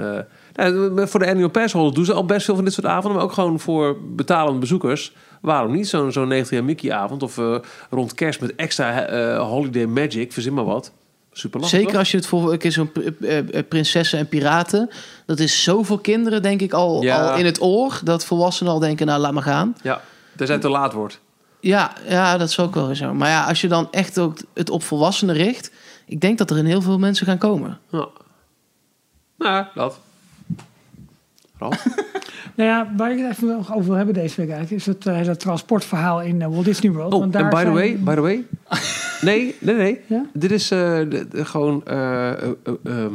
eh, nou, voor de annual pass holder doen ze al best veel van dit soort avonden. Maar ook gewoon voor betalende bezoekers. Waarom niet zo'n zo'n 90 jaar Mickey avond? Of eh, rond kerst met extra eh, holiday magic. Verzin maar wat. Super lachen, Zeker toch? als je het voor een keer zo'n pr- eh, eh, prinsessen en piraten. Dat is zoveel kinderen, denk ik, al, Ja. al in het oor. Dat volwassenen al denken, nou, laat maar gaan. Ja, tenzij het te laat wordt. Ja, ja, dat is ook wel weer zo. Maar ja, als je dan echt ook het op volwassenen richt... Ik denk dat er in heel veel mensen gaan komen. Ja. Nou, dat. Ralf? Nou ja, waar ik het even nog over wil hebben deze week eigenlijk... is het, eh, dat transportverhaal in eh, Walt Disney Oh, World. en Want by daar the zijn- way, by the way. Nee, nee, nee. Ja? Dit is eh, de- de- gewoon eh, eh, eh, ehm,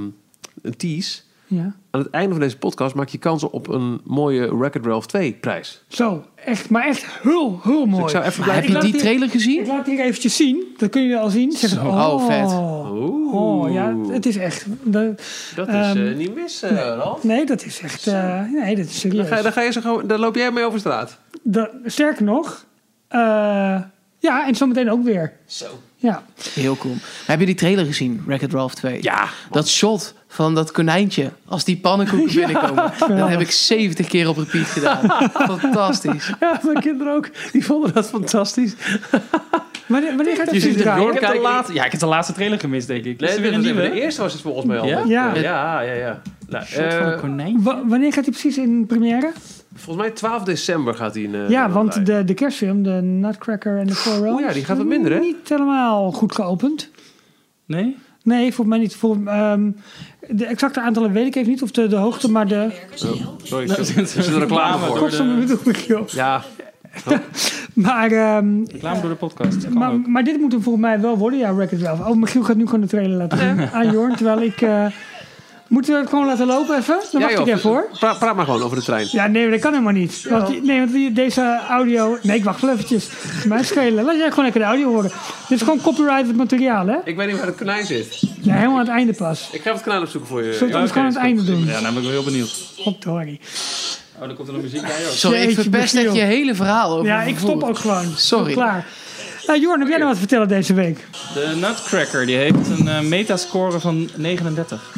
een tease. Ja. Aan het einde van deze podcast maak je kans op een mooie Record Ralph 2 prijs. Zo, echt, maar echt heel, heel mooi. Dus ik zou even Maar blijven... heb ik je laat die die- trailer Ik gezien? laat het hier eventjes zien. Dat kun je al zien. Zeg, Zo. Oh, vet. Oeh, Oh, ja, het is echt... de- dat is eh, ehm, niet missen, Ralf. nee, dat is echt... eh, nee, dat is Dan serieus. ga, je- dan ga je zo gewoon, daar loop jij mee over straat. Dat- sterker nog... eh, ja, en zometeen ook weer. Zo. Ja. Heel cool. Heb je die trailer gezien, Wreck-It Ralph 2? Ja. Dat shot van dat konijntje als die pannenkoeken binnenkomen. Dat heb ik 70 keer op repeat gedaan. Fantastisch. ja, mijn kinderen ook. Die vonden dat fantastisch. Wanneer, wanneer gaat Je ziet het weer het Ik draaien? Jorn heb, de kijken. laatste, ja, ik heb de laatste trailer gemist, denk ik. Nee, Is dit er weer een was even nieuwe? De eerste was het volgens mij al. Ja? Ja. ja, ja. ja. Nou, Shot van eh, een konijn? Wa- wanneer gaat hij precies in première? Volgens mij 12 december gaat hij in. eh, Ja, Nederland want draaien. de, de kerstfilm, de Nutcracker en de Four Realms... oh ja, die gaat wat minder, hè? Niet helemaal goed geopend. Nee? Nee, volgens mij niet. Volgens, ehm, de exacte aantallen weet ik even niet. Of de, de hoogte, maar de... Nou, Sorry, is er reclame voor? Kost de- bedoel ik, joh. Ja, Maar, ehm, Reclame door de podcast. Kan maar, ook. maar dit moet hem volgens mij wel worden, ja, Wreck-It Ralph. Oh, Michiel gaat nu gewoon de trailer laten zien aan Jorn. Terwijl ik... eh, moeten we het gewoon laten lopen even? Dan Ja, wacht ik joh. even hoor. Pra- praat maar gewoon over de trein. Ja, nee, dat kan helemaal niet. Want, die- nee, want die- deze audio... Nee, ik wacht wel eventjes. Mij schelen. Laat jij gewoon lekker de audio horen. Dit is gewoon copyrighted materiaal, hè? Ik weet niet waar het konijn zit. Ja, helemaal aan het einde pas. Ik ga even het konijn opzoeken voor je. Zullen we het gewoon aan het einde doen? Ja, nou ben ik wel heel benieuwd. Goddorie. Oh, dan komt er nog muziek bij ook. Sorry, ik Jeetje, verpest Michiel. echt je hele verhaal over Ja, ik vervoer. stop ook gewoon. Sorry. Klaar. Nou, Jorn, heb jij nou wat te vertellen deze week? De Nutcracker, die heeft een eh, metascore van 39.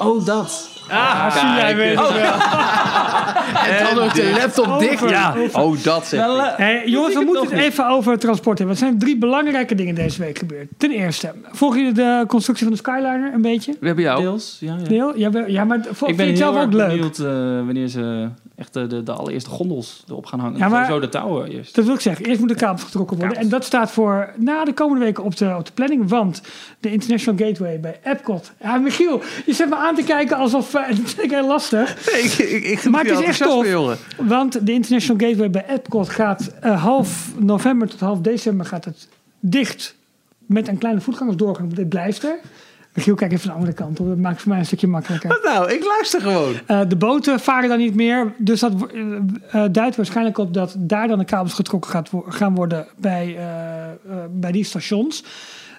Oh, dat. Ah, zie jij weer. eh, En dan ook de laptop dicht. Over. Ja. Oh, dat zeg Nou, ik. Hey, jongens, we het moeten nog het even over transport hebben. Er zijn drie belangrijke dingen deze week gebeurd. Ten eerste, volgen jullie de constructie van de Skyliner een beetje? We hebben jou. Deels, ja. ja. Deel? Ja, we- ja maar v- vind Ik je ben het heel zelf erg ook leuk? benieuwd eh, wanneer ze echt eh, de, de allereerste gondels erop gaan hangen. Ja, maar- Zo de touwen eerst. Dat wil ik zeggen. Eerst moet de kabels getrokken worden. En dat staat voor na de komende weken op de, op de planning. Want de International Gateway bij Epcot. Ja, Michiel, je zet me aan te kijken alsof... eh, dat vind ik heel lastig. Nee, ik, ik, ik Maar het is ik ben enthousiast echt tof. mee, jongen. Want de International Gateway bij Epcot gaat eh, half november tot half december gaat het dicht met een kleine voetgangersdoorgang. want Dit blijft er. Michiel, kijk even de andere kant op. Dat maakt het voor mij een stukje makkelijker. Wat nou? Ik luister gewoon. Eh, de boten varen dan niet meer. Dus dat wo- eh, eh, duidt waarschijnlijk op dat daar dan de kabels getrokken gaat wo- gaan worden bij, eh, eh, bij die stations.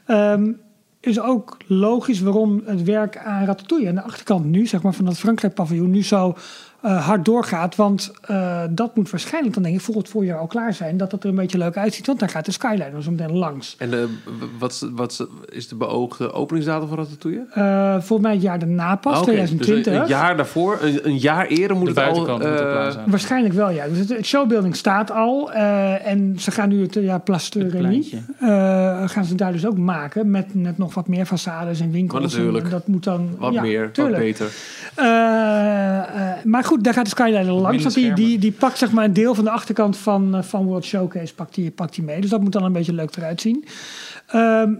Ehm, is ook logisch waarom het werk aan Ratatouille aan de achterkant nu, zeg maar van dat Frankrijk-paviljoen, nu zo eh, hard doorgaat. Want eh, dat moet waarschijnlijk dan denk ik voor het voorjaar al klaar zijn. Dat dat er een beetje leuk uitziet, want daar gaat de Skyliner zo meteen langs. En eh, w- wat, is- wat is- is de beoogde openingsdatum van Ratatouille? Eh, volgens mij het jaar daarna pas, Ah, oké. Dus een- 2020. een jaar daarvoor, een, een jaar eerder moet De het al... buitenkant moet eh, er klaar zijn. Waarschijnlijk wel, ja. Dus het, het showbuilding staat al. eh, en ze gaan nu het eh, ja, plasterenie. pleintje. eh gaan ze daar dus ook maken. Met net nog wat meer façades en winkels. Maar natuurlijk. En dat moet dan. Wat ja, meer, wat tuurlijk. beter. Eh, eh, maar goed, daar gaat de Skyliner langs. Minder Want die, schermen. die, die pakt zeg maar een deel van de achterkant van, eh, van World Showcase pakt die, pakt die mee. Dus dat moet dan een beetje leuk eruit zien. Ehm,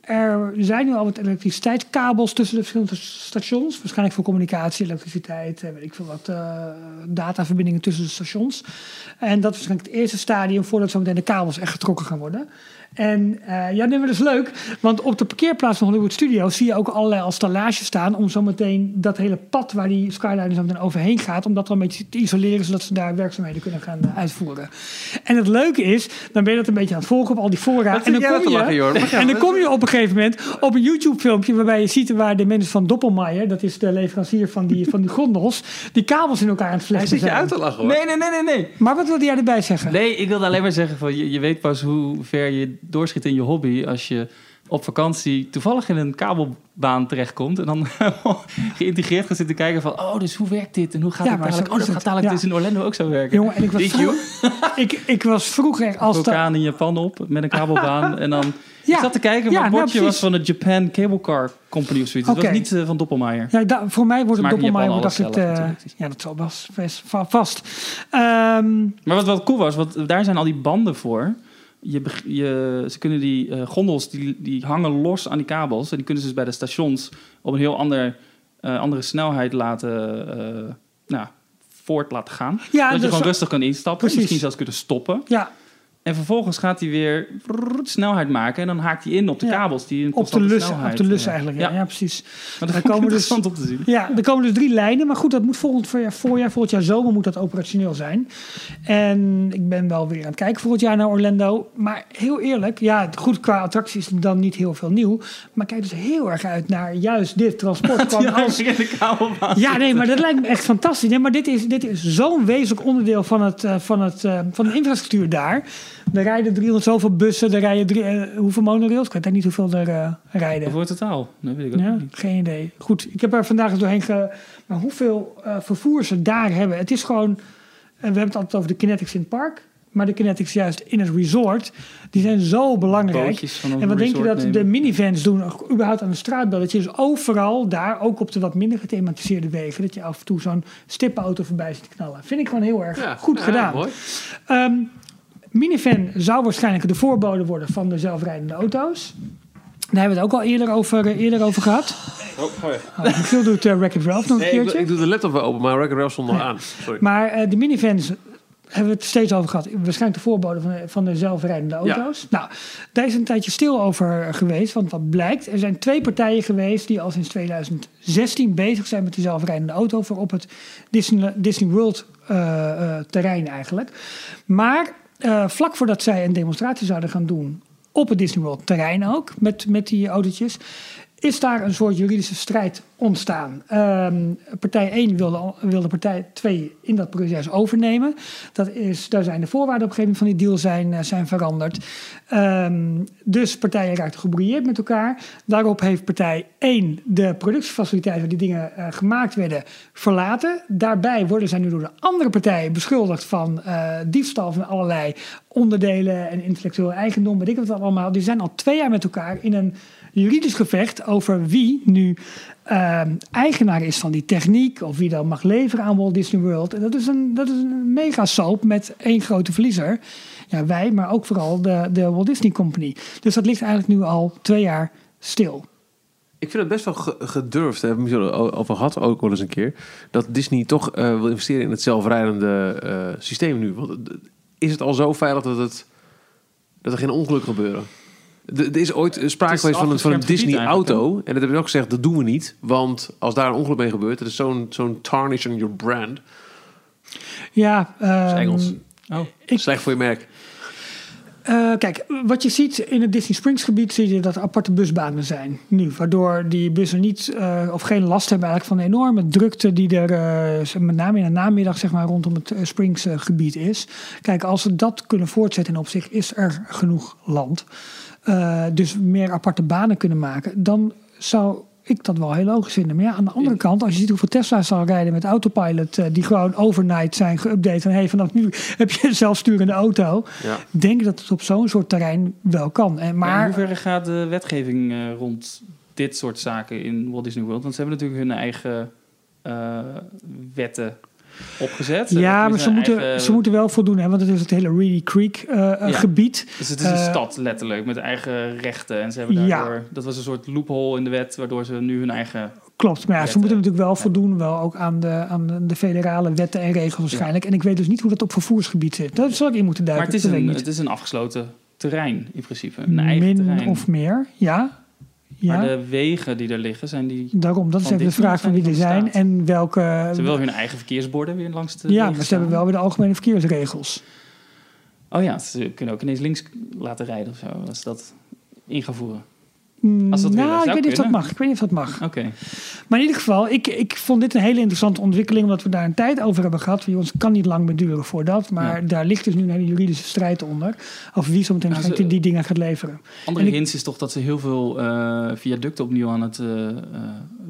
er zijn nu al wat elektriciteitskabels tussen de verschillende stations. Waarschijnlijk voor communicatie, elektriciteit, eh, weet ik veel wat, eh, dataverbindingen tussen de stations. En dat is waarschijnlijk het eerste stadium voordat zo meteen de kabels echt getrokken gaan worden. En eh, ja, nee, maar dat is leuk. Want op de parkeerplaats van Hollywood Studios zie je ook allerlei al stallage staan. Om zo meteen dat hele pad waar die Skyliner zo meteen overheen gaat. Om dat dan een beetje te isoleren. Zodat ze daar werkzaamheden kunnen gaan eh, uitvoeren. En het leuke is, dan ben je dat een beetje aan het volgen op al die fora. Wat zit en dan jij nou kom te je, lachen, Jorn? Mag jij en dan wel? kom je op een gegeven moment op een YouTube filmpje waarbij je ziet waar de mensen van Doppelmayr, dat is de leverancier van die, van die gondels, die kabels in elkaar aan Hij het vlechten zit je zijn. uit te lachen, hoor. Nee, nee, nee, nee, nee. Maar wat wilde jij erbij zeggen? Nee, ik wilde alleen maar zeggen van je, je weet pas hoe ver je doorschiet in je hobby als je op vakantie toevallig in een kabelbaan terechtkomt en dan geïntegreerd gaat zitten kijken van oh, dus hoe werkt dit en hoe gaat Ja, het maar zo dadelijk? Oh, dat is gaat het. dadelijk Ja. dus in Orlando ook zo werken. Jongen, en ik was, vroeg- ik, ik was vroeger als de Vulkaan in Japan op met een kabelbaan en dan Ja. ik zat te Ja, kijken, maar het nou, bordje was precies. van de Japan Cable Car Company of zoiets. Het Oké. was niet eh, van Doppelmayr. Ja, da- voor mij wordt Ze het maken in doppelmayr Japan bedacht. alles Het, zelf eh, natuurlijk. ja, dat zal best, best va- vast. Ehm, Maar wat wel cool was, want daar zijn al die banden voor. Je, beg- je, ze kunnen die eh, gondels, die, die hangen los aan die kabels. En die kunnen ze dus bij de stations op een heel ander, eh, andere snelheid laten eh, nou, voort laten gaan. ja, dat je dus- gewoon rustig kan instappen. Precies. Misschien zelfs kunnen stoppen. ja, En vervolgens gaat hij weer brrrt snelheid maken. En dan haakt hij in op de Ja. kabels. Die in op de constante lussen, op snelheid, de lussen eh, eigenlijk. Ja, Ja. ja. precies. Maar Daar dat komen komen dus dus- interessant om te zien. Ja, er komen dus drie lijnen. Maar goed, dat moet volgend voorjaar, voorjaar, volgend jaar zomer moet dat operationeel zijn. En ik ben wel weer aan het kijken volgend jaar naar Orlando. Maar heel eerlijk, ja, goed, qua attracties dan niet heel veel nieuw. Maar ik kijk dus heel erg uit naar juist dit transport. van als in de kabelbaan. Ja, nee, maar dat lijkt me echt fantastisch. Nee, maar dit is, dit is zo'n wezenlijk onderdeel van, het, eh, van, het, eh, van de infrastructuur daar. Er rijden 300 zoveel bussen, er rijden drie, eh, hoeveel monorails? Ik weet eigenlijk niet hoeveel er eh, rijden. Voor totaal. Nee, weet ik ook Ja, niet. geen idee. Goed, ik heb er vandaag doorheen ge... Maar hoeveel eh, vervoer ze daar hebben. Het is gewoon... en we hebben het altijd over de kinetics in het park. Maar de kinetics juist in het resort. Die zijn zo belangrijk. Bootjes van En wat denk je dat de min minivans doen, ook überhaupt aan de straatbel? Dat je dus overal daar, ook op de wat minder gethematiseerde wegen, dat je af en toe zo'n stippenauto voorbij ziet knallen. Vind ik gewoon heel erg Ja, goed ja, gedaan. mooi. Ehm, minivan zou waarschijnlijk de voorbode worden van de zelfrijdende auto's. Daar hebben we het ook al eerder over, eh, eerder over gehad. Oh, Michiel doet uh, Wreck-It Ralph nog een Nee, ik, keertje. ik doe de laptop wel open, maar Wreck-It Ralph stond nog aan. Sorry. Maar eh, de minivans hebben we het steeds over gehad. Waarschijnlijk de voorbode van de, van de zelfrijdende auto's. Nou, daar is een tijdje stil over geweest. Want wat blijkt, er zijn twee partijen geweest die al sinds 2016 bezig zijn met de zelfrijdende auto voor op het Disney, Disney World eh, eh, terrein eigenlijk. Maar eh, vlak voordat zij een demonstratie zouden gaan doen op het Disney World terrein ook, met, met die autootjes, is daar een soort juridische strijd ontstaan. Ehm, partij 1 wilde, wilde partij 2 in dat proces overnemen. Dat is, daar zijn de voorwaarden op een gegeven moment van die deal zijn, eh, zijn veranderd. Ehm, dus partijen raakten gebrouilleerd met elkaar. Daarop heeft partij 1 de productiefaciliteit waar die dingen eh, gemaakt werden verlaten. Daarbij worden zij nu door de andere partij beschuldigd van eh, diefstal van allerlei onderdelen en intellectueel eigendom. Weet ik wat allemaal. Die zijn al twee jaar met elkaar in een juridisch gevecht over wie nu ehm, eigenaar is van die techniek. Of wie dan mag leveren aan Walt Disney World. En dat is een, dat is een mega soap met één grote verliezer. Ja, wij, maar ook vooral de, de Walt Disney Company. Dus dat ligt eigenlijk nu al twee jaar stil. Ik vind het best wel ge- gedurfd. Daar hebben we het o- over gehad ook wel eens een keer. Dat Disney toch eh, wil investeren in het zelfrijdende eh, systeem nu. Want, eh, is het al zo veilig dat, het, dat er geen ongelukken gebeuren? Er er is ooit eh, sprake Het is geweest van een, van een afgeschermd gebied Disney-auto. En dat hebben ze ook gezegd, dat doen we niet. Want als daar een ongeluk mee gebeurt, dat is zo'n zo'n tarnish on your brand. Ja, Dat is ehm, Engels. Oh. ik- Slecht voor je merk. Eh, kijk, wat je ziet in het Disney Springs gebied, zie je dat er aparte busbanen zijn nu. Waardoor die bussen niet eh, of geen last hebben eigenlijk van de enorme drukte die er eh, z- met name in de namiddag zeg maar, rondom het eh, Springs eh, gebied is. Kijk, als ze dat kunnen voortzetten op zich, is er genoeg land. Eh, dus meer aparte banen kunnen maken, dan zou ik dat wel heel logisch vinden. Maar ja, aan de andere kant, als je ziet hoeveel Tesla's al rijden met autopilot, eh, die gewoon overnight zijn geüpdate. En hey, vanaf nu heb je een zelfsturende auto Ja. denk dat het op zo'n soort terrein wel kan. En, Maar in maar hoeverre gaat de wetgeving eh, rond dit soort zaken in Walt Disney World? Want ze hebben natuurlijk hun eigen eh, wetten opgezet. Ze ja, hebben maar ze hun moeten, eigen- ze moeten wel voldoen, hè, want het is het hele Reedy Creek eh, eh, Ja. gebied. Dus het is een eh, stad letterlijk, met eigen rechten. En ze hebben Ja. daardoor... Dat was een soort loophole in de wet, waardoor ze nu hun eigen... Klopt, maar ja, ze Wetten. moeten natuurlijk wel voldoen wel ook aan de, aan de- de federale wetten en regels waarschijnlijk. En ik weet dus niet hoe dat op vervoersgebied zit. Daar zal ik in moeten Maar duiken. het dat is, weet een, ik niet. het is een afgesloten terrein, in principe. Een eigen Min terrein. of meer, ja. ja. Maar de wegen die er liggen, zijn die... Daarom, dat is van even de Disney vraag van zijn wie die er van de zijn staat. en welke... Ze hebben wel hun eigen verkeersborden weer langs ja, de wegen maar ze staan. hebben wel weer de algemene verkeersregels. Oh ja, ze kunnen ook ineens links laten rijden of zo, als ze dat in gaan voeren. Als dat nou, willen, ik weet zou niet of dat kunnen. mag. Ik weet niet of dat mag. Oké. Maar in ieder geval, ik, ik vond dit een hele interessante ontwikkeling, omdat we daar een tijd over hebben gehad. Van, jongens, het kan niet lang meer duren voordat. Maar daar ligt dus nu een hele juridische strijd onder. Of wie zometeen Nou, nou, ze- die dingen gaat leveren. Andere En ik- hints is toch dat ze heel veel eh, viaducten opnieuw aan het eh, eh,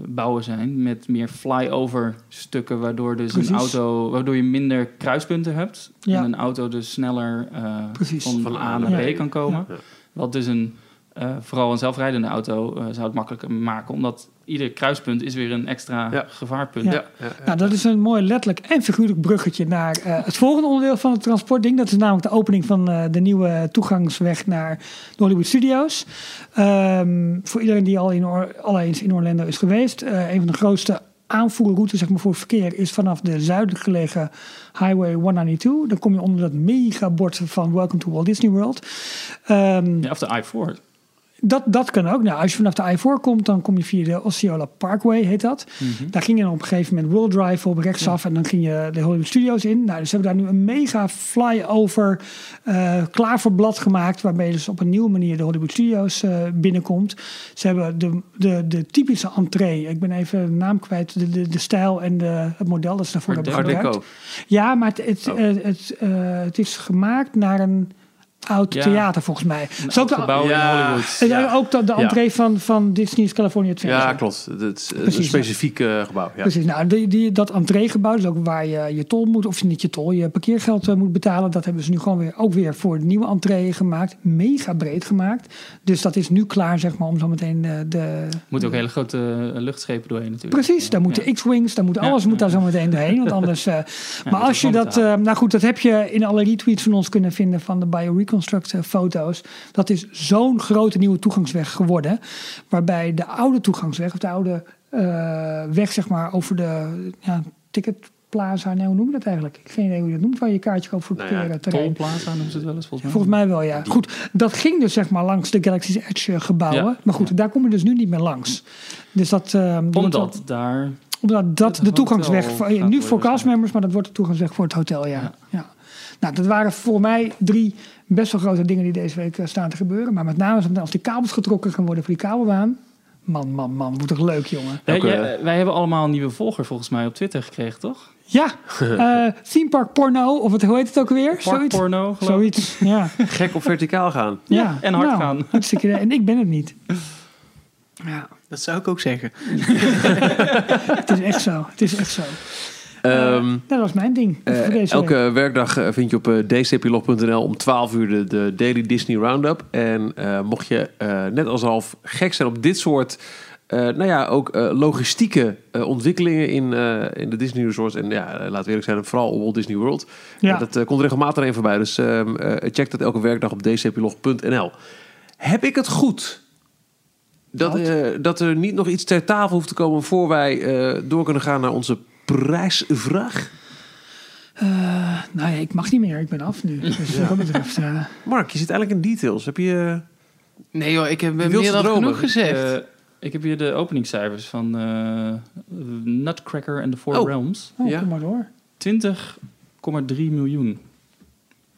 bouwen zijn. Met meer flyover stukken, waardoor, dus een Precies. auto, waardoor je minder kruispunten hebt. Ja. En een auto dus sneller eh, Precies. van, Van A naar B Ja. kan komen. Ja. Wat dus een, eh, vooral een zelfrijdende auto eh, zou het makkelijker maken. Omdat ieder kruispunt is weer een extra Ja. gevaarpunt. Ja. Ja, ja, ja. Nou, dat is een mooi letterlijk en figuurlijk bruggetje naar eh, het volgende onderdeel van het transportding. Dat is namelijk de opening van eh, de nieuwe toegangsweg naar de Hollywood Studios. Ehm, voor iedereen die al, in Or- al eens in Orlando is geweest, eh, een van de grootste aanvoerroutes zeg maar, voor verkeer is vanaf de zuidelijk gelegen Highway 192. Dan kom je onder dat megabord van Welcome to Walt Disney World. Ehm, Ja, of de i4. dat, dat kan ook. Nou, als je vanaf de I4 komt, dan kom je via de Osceola Parkway, heet dat. Daar ging je dan op een gegeven moment World Drive op rechtsaf en dan ging je de Hollywood Studios in. Nou, dus ze hebben daar nu een mega flyover eh klaar voor blad gemaakt, waarmee je dus op een nieuwe manier de Hollywood Studios eh, binnenkomt. Ze hebben de, de, de typische entree, ik ben even de naam kwijt, de, de, de stijl en de, het model dat ze daarvoor Art hebben Art gebruikt. Deco. Ja, maar het, het, Oh. eh, het, eh, het is gemaakt naar een oud Ja. theater volgens mij. Het is ook de- Gebouw Ja. in Hollywood. en eh, ook de, de Oh, Ja. entree van, van Disney's California Adventure. Ja, klopt. Het is een Precies, ja. specifiek eh, gebouw. Ja. Precies, nou, die, die, dat entreegebouw is ook waar je je tol moet, of niet je tol, je parkeergeld eh, moet betalen. Dat hebben ze nu gewoon weer, ook weer voor het nieuwe entree gemaakt. Mega breed gemaakt. Dus dat is nu klaar, zeg maar, om zo meteen eh, de... Moet ook hele grote eh, luchtschepen doorheen natuurlijk. Precies, daar moeten Ja. X-Wings, daar moet Ja, alles moet ja. daar zo meteen doorheen. Want anders... eh, maar dat als is je wel dat... betaald. eh, nou goed, dat heb je in alle retweets van ons kunnen vinden van de BioReconstruct eh, foto's. Dat is zo'n grote nieuwe toegangsweg geworden. Waarbij de oude toegangsweg, of de oude eh, weg zeg maar over de ja, ticket Plaza, nee, hoe noem je dat eigenlijk? Ik vind niet hoe je dat noemt, waar je een kaartje koopt voor het Nou ja, parkeerterrein. Tolplaza noemen ze het wel eens, volgens mij. Volgens mij wel, ja. Goed, dat ging dus zeg maar langs de Galaxy's Edge eh, gebouwen. Ja. Maar goed, daar kom je dus nu niet meer langs. Dus dat... eh, Omdat daar... Omdat dat Het de hotel toegangsweg... Voor, gaat eh, nu worden voor castmembers, maar dat wordt de toegangsweg voor het hotel, ja. ja. Nou, dat waren voor mij drie best wel grote dingen die deze week eh, staan te gebeuren. Maar met name is het als die kabels getrokken gaan worden voor die kabelbaan. Man, man, man, wordt toch leuk, jongen. Ja, Ook, eh, jij- wij hebben allemaal een nieuwe volger volgens mij op Twitter gekregen, toch? Ja, eh theme park porno, of het, hoe heet het ook weer? Park Zoiets. porno, geloof ik. Zoiets, ja. Gek op verticaal gaan. ja. en hard nou, gaan. Hartstikke idee. En ik ben het niet. Ja, Dat zou ik ook zeggen. het is echt zo. Het is echt zo. Ehm, Dat was mijn ding. eh, voor deze elke week. werkdag eh, vind je op eh, dcplog.nl om 12 uur de, de Daily Disney Roundup. En eh, mocht je eh, net als half gek zijn op dit soort eh, nou ja, ook eh, logistieke eh, ontwikkelingen in, eh, in de Disney resorts. En ja, eh, laten we eerlijk zijn, vooral op Walt Disney World. Ja. Eh, dat eh, komt regelmatig even voorbij. Dus ehm, eh, check dat elke werkdag op dcplog.nl. Heb ik het goed? Dat, Wat? eh, dat er niet nog iets ter tafel hoeft te komen voor wij eh, door kunnen gaan naar onze prijsvraag? Eh, nou ja, ik mag niet meer. Ik ben af nu. Dus wat dat betreft... eh, Mark, je zit eigenlijk in details. Heb je... eh, Nee joh, ik heb meer wilt dan dromen. genoeg gezegd. Eh, ik heb hier de openingscijfers van eh, Nutcracker and the Four Oh. Realms. oh, Ja. kom maar door. 20,3 miljoen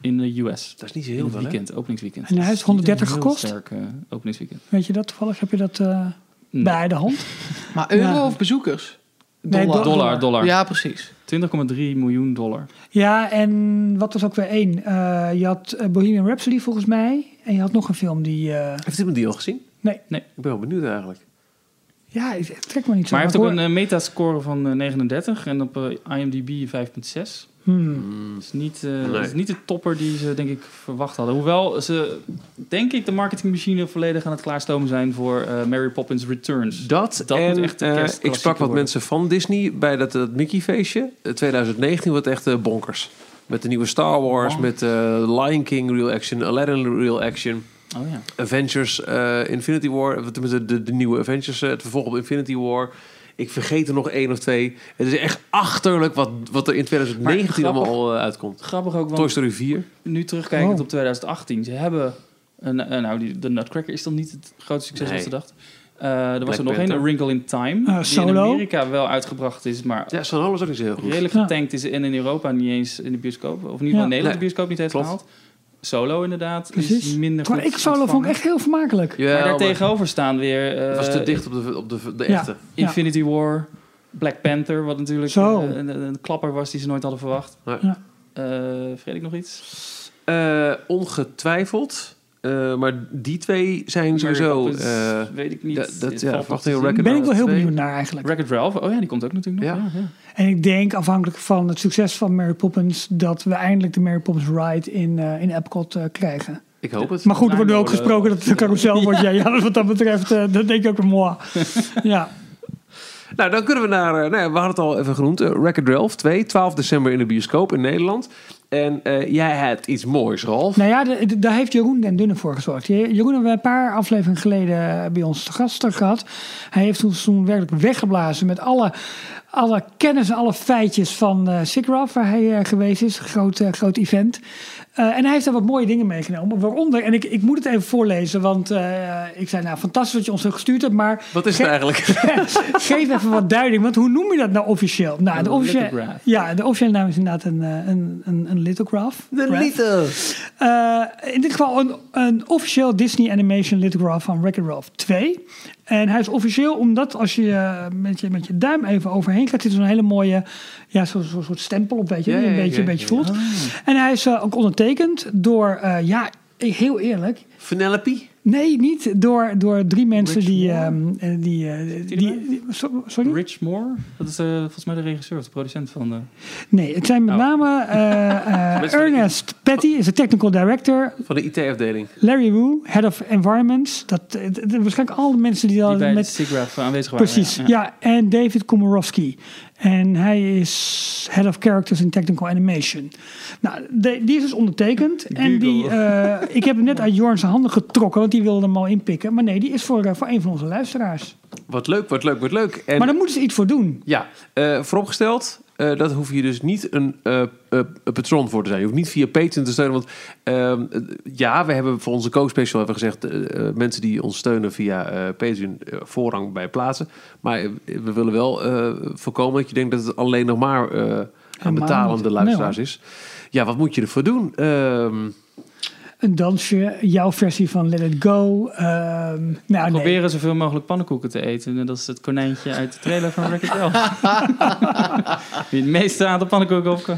in de US. Dat is niet zo In heel het veel, weekend, openingsweekend. En hij heeft Het is niet 130 een heel gekost? Sterk, eh, openingsweekend. Weet je dat toevallig? Heb je dat eh, Nee. bij de hand? maar euro ja. of bezoekers? Nee, Dollar. do- Dollar, dollar. Ja, precies. 20,3 miljoen dollar. Ja, en wat was ook weer één? Eh, je had eh, Bohemian Rhapsody volgens mij. En je had nog een film die... eh, Heeft iemand die al gezien? nee, Ik ben wel benieuwd eigenlijk. ja, ik- trek maar niet zo. Maar hij heeft ik ook een hoor- eh, metascore van eh, 39 en op eh, IMDb 5,6. Hmm. Dat is niet, eh, Nee. dat is niet de topper die ze, denk ik, verwacht hadden. Hoewel ze, denk ik, de marketingmachine volledig aan het klaarstomen zijn voor eh, Mary Poppins Returns. Dat, Dat en moet echt de eh, kerstklassieker ik sprak wat worden. mensen van Disney bij dat, dat Mickey-feestje. Eh, 2019 wordt echt eh, bonkers. Met de nieuwe Star Wars, Oh. met eh, Lion King Real Action, Aladdin Real Action, Oh ja. Avengers eh, Infinity War. eh, Tenminste, de, de nieuwe Avengers, eh, het vervolg op Infinity War. Ik vergeet er nog één of twee. Het is echt achterlijk wat, wat er in 2019 Maar grappig- allemaal al, eh, uitkomt. Grappig ook, Toy want Story 4. nu terugkijkend Oh. op 2018. Ze hebben, een, eh, nou, die, de Nutcracker is dan niet het grootste succes Nee. wat ze dachten. Eh, er was er nog één, Panther. A Wrinkle in Time. die in Eh, Solo. Amerika wel uitgebracht is, maar Ja, San Holo is ook niet zo heel goed. redelijk Ja. getankt is en in Europa niet eens in de bioscoop. Of niet Ja. in Nederland Nee. de bioscoop niet heeft Klopt. gehaald. Solo inderdaad Precies. is minder goed Maar ik solo vond ontvangen. ik echt heel vermakelijk. Ja, maar daar maar- tegenover staan weer eh, Het was te dicht op de, op de, de Ja. echte. Ja. Infinity War, Black Panther, wat natuurlijk eh, Zo. een, een- een klapper was die ze nooit hadden verwacht. Nee. Ja. Eh, vergeet ik nog iets? Eh, ongetwijfeld. Eh, maar die twee zijn Mary sowieso... Poppins, eh, weet ik niet. dat- dat- Het ja, valt wacht nog te heel zien. Daar ben ik wel heel Twee. benieuwd naar eigenlijk. Wreck-It Ralph, oh ja, die komt ook natuurlijk nog. Ja. En ik denk afhankelijk van het succes van Mary Poppins... dat we eindelijk de Mary Poppins ride in, eh, in Epcot eh, krijgen. ik hoop het. Maar goed, er wordt nu ook Nijmegen. gesproken dat het een carousel wordt. Ja, ja, wat dat betreft, eh, dat denk ik ook een mooi. Ja, Nou, dan kunnen we naar... eh, nou ja, we hadden het al even genoemd. Uh, Record Ralph 2, 12 december in de bioscoop in Nederland. En eh, jij hebt iets moois, Ralf. Nou ja, de- de- daar heeft Jeroen Den Dunne voor gezorgd. Je- Jeroen hebben we een paar afleveringen geleden bij ons te gasten gehad. Hij heeft ons toen werkelijk weggeblazen met alle, alle kennis en alle feitjes van eh SIGGRAPH, waar hij eh, geweest is. Groot, eh, groot event. Eh, en hij heeft daar wat mooie dingen meegenomen. Waaronder, en ik, ik moet het even voorlezen, want eh, ik zei nou fantastisch dat je ons zo gestuurd hebt, maar Wat is het Ge- eigenlijk? Geef even wat duiding, want hoe noem je dat nou officieel? Nou, de Een officiële, lithograph. ja, de officiële naam is inderdaad een, eh, een, een, een lithograph. Graph. Eh, in dit geval een, een officieel Disney Animation lithograph van Wreck-It Ralph 2. En hij is officieel omdat als je eh, met je, met je duim even overheen gaat, zit er zo'n hele mooie ja, zo, zo, soort stempel op, weet je, Ja, die je een ja, beetje, ja, een beetje ja, Ah. ja. voelt. En hij is eh, ook ondertekend door, eh, ja, ik- heel eerlijk, Penelope? nee, niet door, door drie mensen Rich die, Moore? ehm, eh, die, eh, die, erbij? die- so- sorry? Rich Moore, dat is eh, volgens mij de regisseur of de producent van... eh, de. Nee, het zijn met Oh. name eh, eh, Ernest Petty is de technical director. Van de IT-afdeling. Larry Wu, head of environments. Dat, eh, d- d- waarschijnlijk alle mensen die die al bij met... de SIGGRAPH aanwezig waren. Precies, ja. En David Komorowski. En hij is head of characters in technical animation. Nou, de- die is dus ondertekend. En die, eh, ik heb hem net uit Jorn zijn handen getrokken, want die wilde hem al inpikken. Maar nee, die is voor, eh, voor een van onze luisteraars. Wat leuk, wat leuk, wat leuk. En maar daar moeten ze iets voor doen. Ja, eh, vooropgesteld. eh, eh, dat hoef je dus niet een eh, eh, een patron voor te zijn. Je hoeft niet via Patreon te steunen. Want ehm, eh, ja, we hebben voor onze co-special hebben we gezegd... eh, eh, mensen die ons steunen via eh, Patreon eh, voorrang bij plaatsen. Maar eh, we willen wel eh, voorkomen dat je denkt dat het alleen nog maar... eh, aan Helemaal niet. betalende Nee, luisteraars hoor. is. Ja, wat moet je ervoor doen? Ehm, Een dansje, jouw versie van Let It Go. ehm, nou, nee. Proberen zoveel mogelijk pannenkoeken te eten. En dat is het konijntje uit de trailer van Wreck-It Ralph. Wie het meeste aantal pannenkoeken op kan.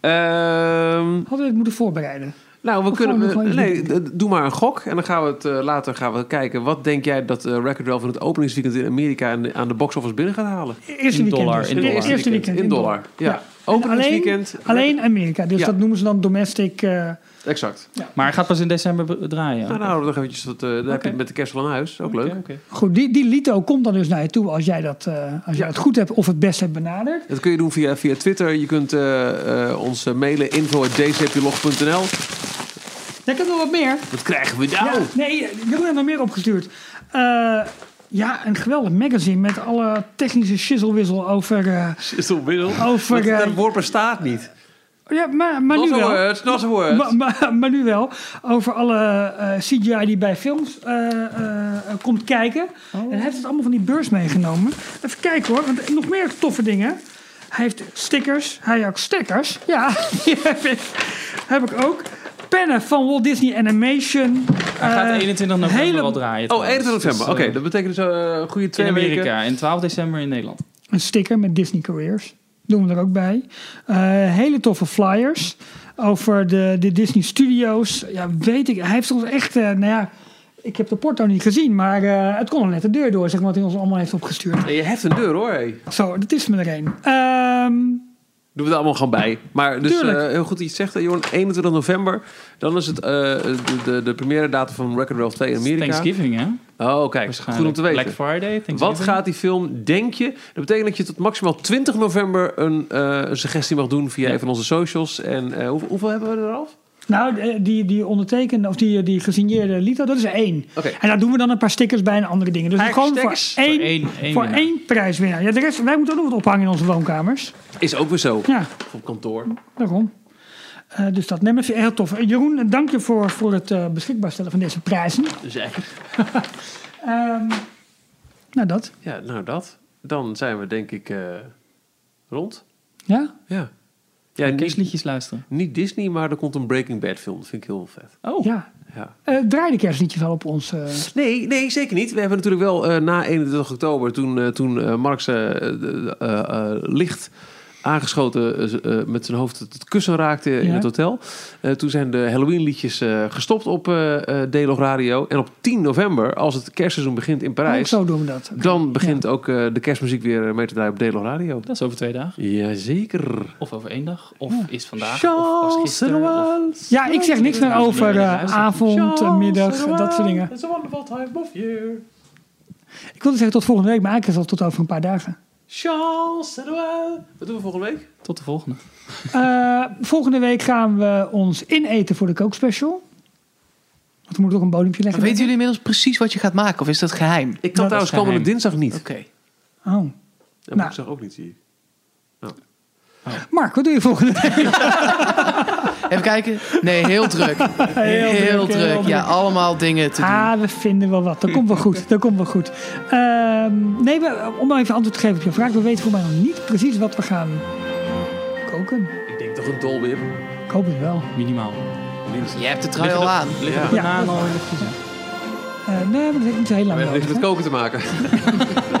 ehm, Hadden we het moeten voorbereiden. nou, we Of kunnen. gewoon nog wel we- iets nee, doen. d- doe maar een gok. En dan gaan we het eh, later gaan we kijken. Wat denk jij dat eh Record Ralph van het openingsweekend in Amerika aan de, aan de box office binnen gaat halen? Eerste In weekend. dollar, dus. in dollar. Eerste weekend. In dollar. Ja. Ja. Openingsweekend. Alleen Amerika. Dus Ja. dat noemen ze dan domestic. eh, Exact. Maar hij gaat pas in december be- draaien. Nou, nou, nog eventjes. Dat, eh, dan heb je het met de kerst wel naar huis. Ook Oké, leuk. oké. goed, die, die Lito komt dan dus naar je toe als jij, dat, eh, als jij het goed hebt of het best hebt benaderd. Dat kun je doen via, via Twitter. Je kunt eh, eh, ons eh, mailen info.dcplog.nl. Ja, ik heb nog wat meer. Wat krijgen we Ja, nou? nee, Jeroen heeft nog meer opgestuurd. Eh, ja, een geweldig magazine met alle technische shizzle-wissel over... eh, Is toch middel? Over, Want Dat eh, woord bestaat niet. ja, maar, maar nu Not a wel. eh, word, not a word. Maar, maar, maar nu wel. Over alle eh, CGI die bij films eh, eh, eh, komt kijken. Oh. En hij heeft het allemaal van die beurs meegenomen. Even kijken hoor, want nog meer toffe dingen. Hij heeft stickers, hij heeft ook stekkers. Ja, die heb ik, heb ik ook. Pennen van Walt Disney Animation. Hij gaat Eh, 21 november hele- wel draaien. Oh, trouwens. 21 november. Dus, Oké, eh, dat betekent dus eh, een goede twee in weken. Amerika en 12 december in Nederland. Een sticker met Disney Careers. Doen we er ook bij. Eh, hele toffe flyers over de, de Disney Studios. Ja, weet ik. Hij heeft ons echt. eh, nou ja, ik heb de porto niet gezien, maar eh, het kon er net de deur door, zeg maar, wat hij ons allemaal heeft opgestuurd. En je hebt een deur hoor. Hey. Zo, dat is me er een. Ehm, Doen we er allemaal gewoon bij. Maar dus Tuurlijk. eh, heel goed dat je het zegt, eh, Jorn. 21 november. Dan is het eh, de, de, de première datum van Record Ralph 2 in Het is Amerika. Thanksgiving, hè? Oh, kijk. Goed om te weten. Black Friday, Thanksgiving. Wat gaat die film, denk je? Dat betekent dat je tot maximaal 20 november een eh, een suggestie mag doen via Ja. een van onze socials. En eh, hoeveel, hoeveel hebben we er af? nou, eh, die, die ondertekende, of die, die gesigneerde Lito, dat is er één. Oké. En daar doen we dan een paar stickers bij en andere dingen. Dus Eigen gewoon voor stickers? één, één- één voor winnaar. één prijswinnaar. Ja, de rest, wij moeten ook nog wat ophangen in onze woonkamers. Is ook weer zo. Ja. Of Op kantoor. Daarom. Eh, dus dat neem ik vind ik heel tof. Eh, Jeroen, dank je voor, voor het eh, beschikbaar stellen van deze prijzen. Dus eigenlijk. Ehm, nou, dat. Ja, nou dat. Dan zijn we denk ik eh, rond. Ja? Ja. Ja, niet, Kerstliedjes luisteren. niet Disney, maar er komt een Breaking Bad film. Dat vind ik heel vet. Oh, Ja. Ja. Eh, draai de kerstliedjes wel op ons. eh. Nee, nee, zeker niet. We hebben natuurlijk wel eh, na 31 oktober, toen, eh, toen eh, Marx eh, de- eh, eh, licht aangeschoten eh, eh, met zijn hoofd het het kussen raakte in Ja. het hotel. Eh, toen zijn de Halloween-liedjes eh, gestopt op eh eh Delog Radio. En op 10 november, als het kerstseizoen begint in Ook Parijs, Oh, zo doen we dat. dan begint ook eh, de kerstmuziek weer mee te draaien op Delog Radio. dat is over twee dagen. Jazeker. Of over één dag. Of is vandaag. of was Charles gisteren. of- Ja, ik zeg niks meer over eh, avond, eh, middag, eh, dat soort dingen. It's a wonderful time of year. Ik wilde zeggen tot volgende week, maar eigenlijk is het al tot over een paar dagen. Charles Wat doen we volgende week? Tot de volgende. Eh, volgende week gaan we ons ineten voor de kookspecial. Want we moeten ook een bodempje leggen. Weten jullie inmiddels precies wat je gaat maken? Of is Nou, dat geheim? Oké. Ik kan is trouwens komende geheim. dinsdag niet. Oh. En Nou. woensdag ook niet, zie ik. Mark, wat doe je volgende week? Even kijken. Nee, heel druk. Heel, heel druk. druk. Ja, allemaal dingen te doen. Ah, we vinden wel wat. Dat komt wel goed. Dat komt wel goed. Ehm, nee, we, om maar even antwoord te geven op je vraag. We weten voor mij nog niet precies wat we gaan koken. Ik denk toch een dolwip. Ik hoop het wel. Minimaal. Je hebt de trui al aan. Liggen de Ja. bananen al in de vriezer? Eh, nee, maar dat heeft niet zo heel We lang hebben niks nodig. met koken te maken. hè.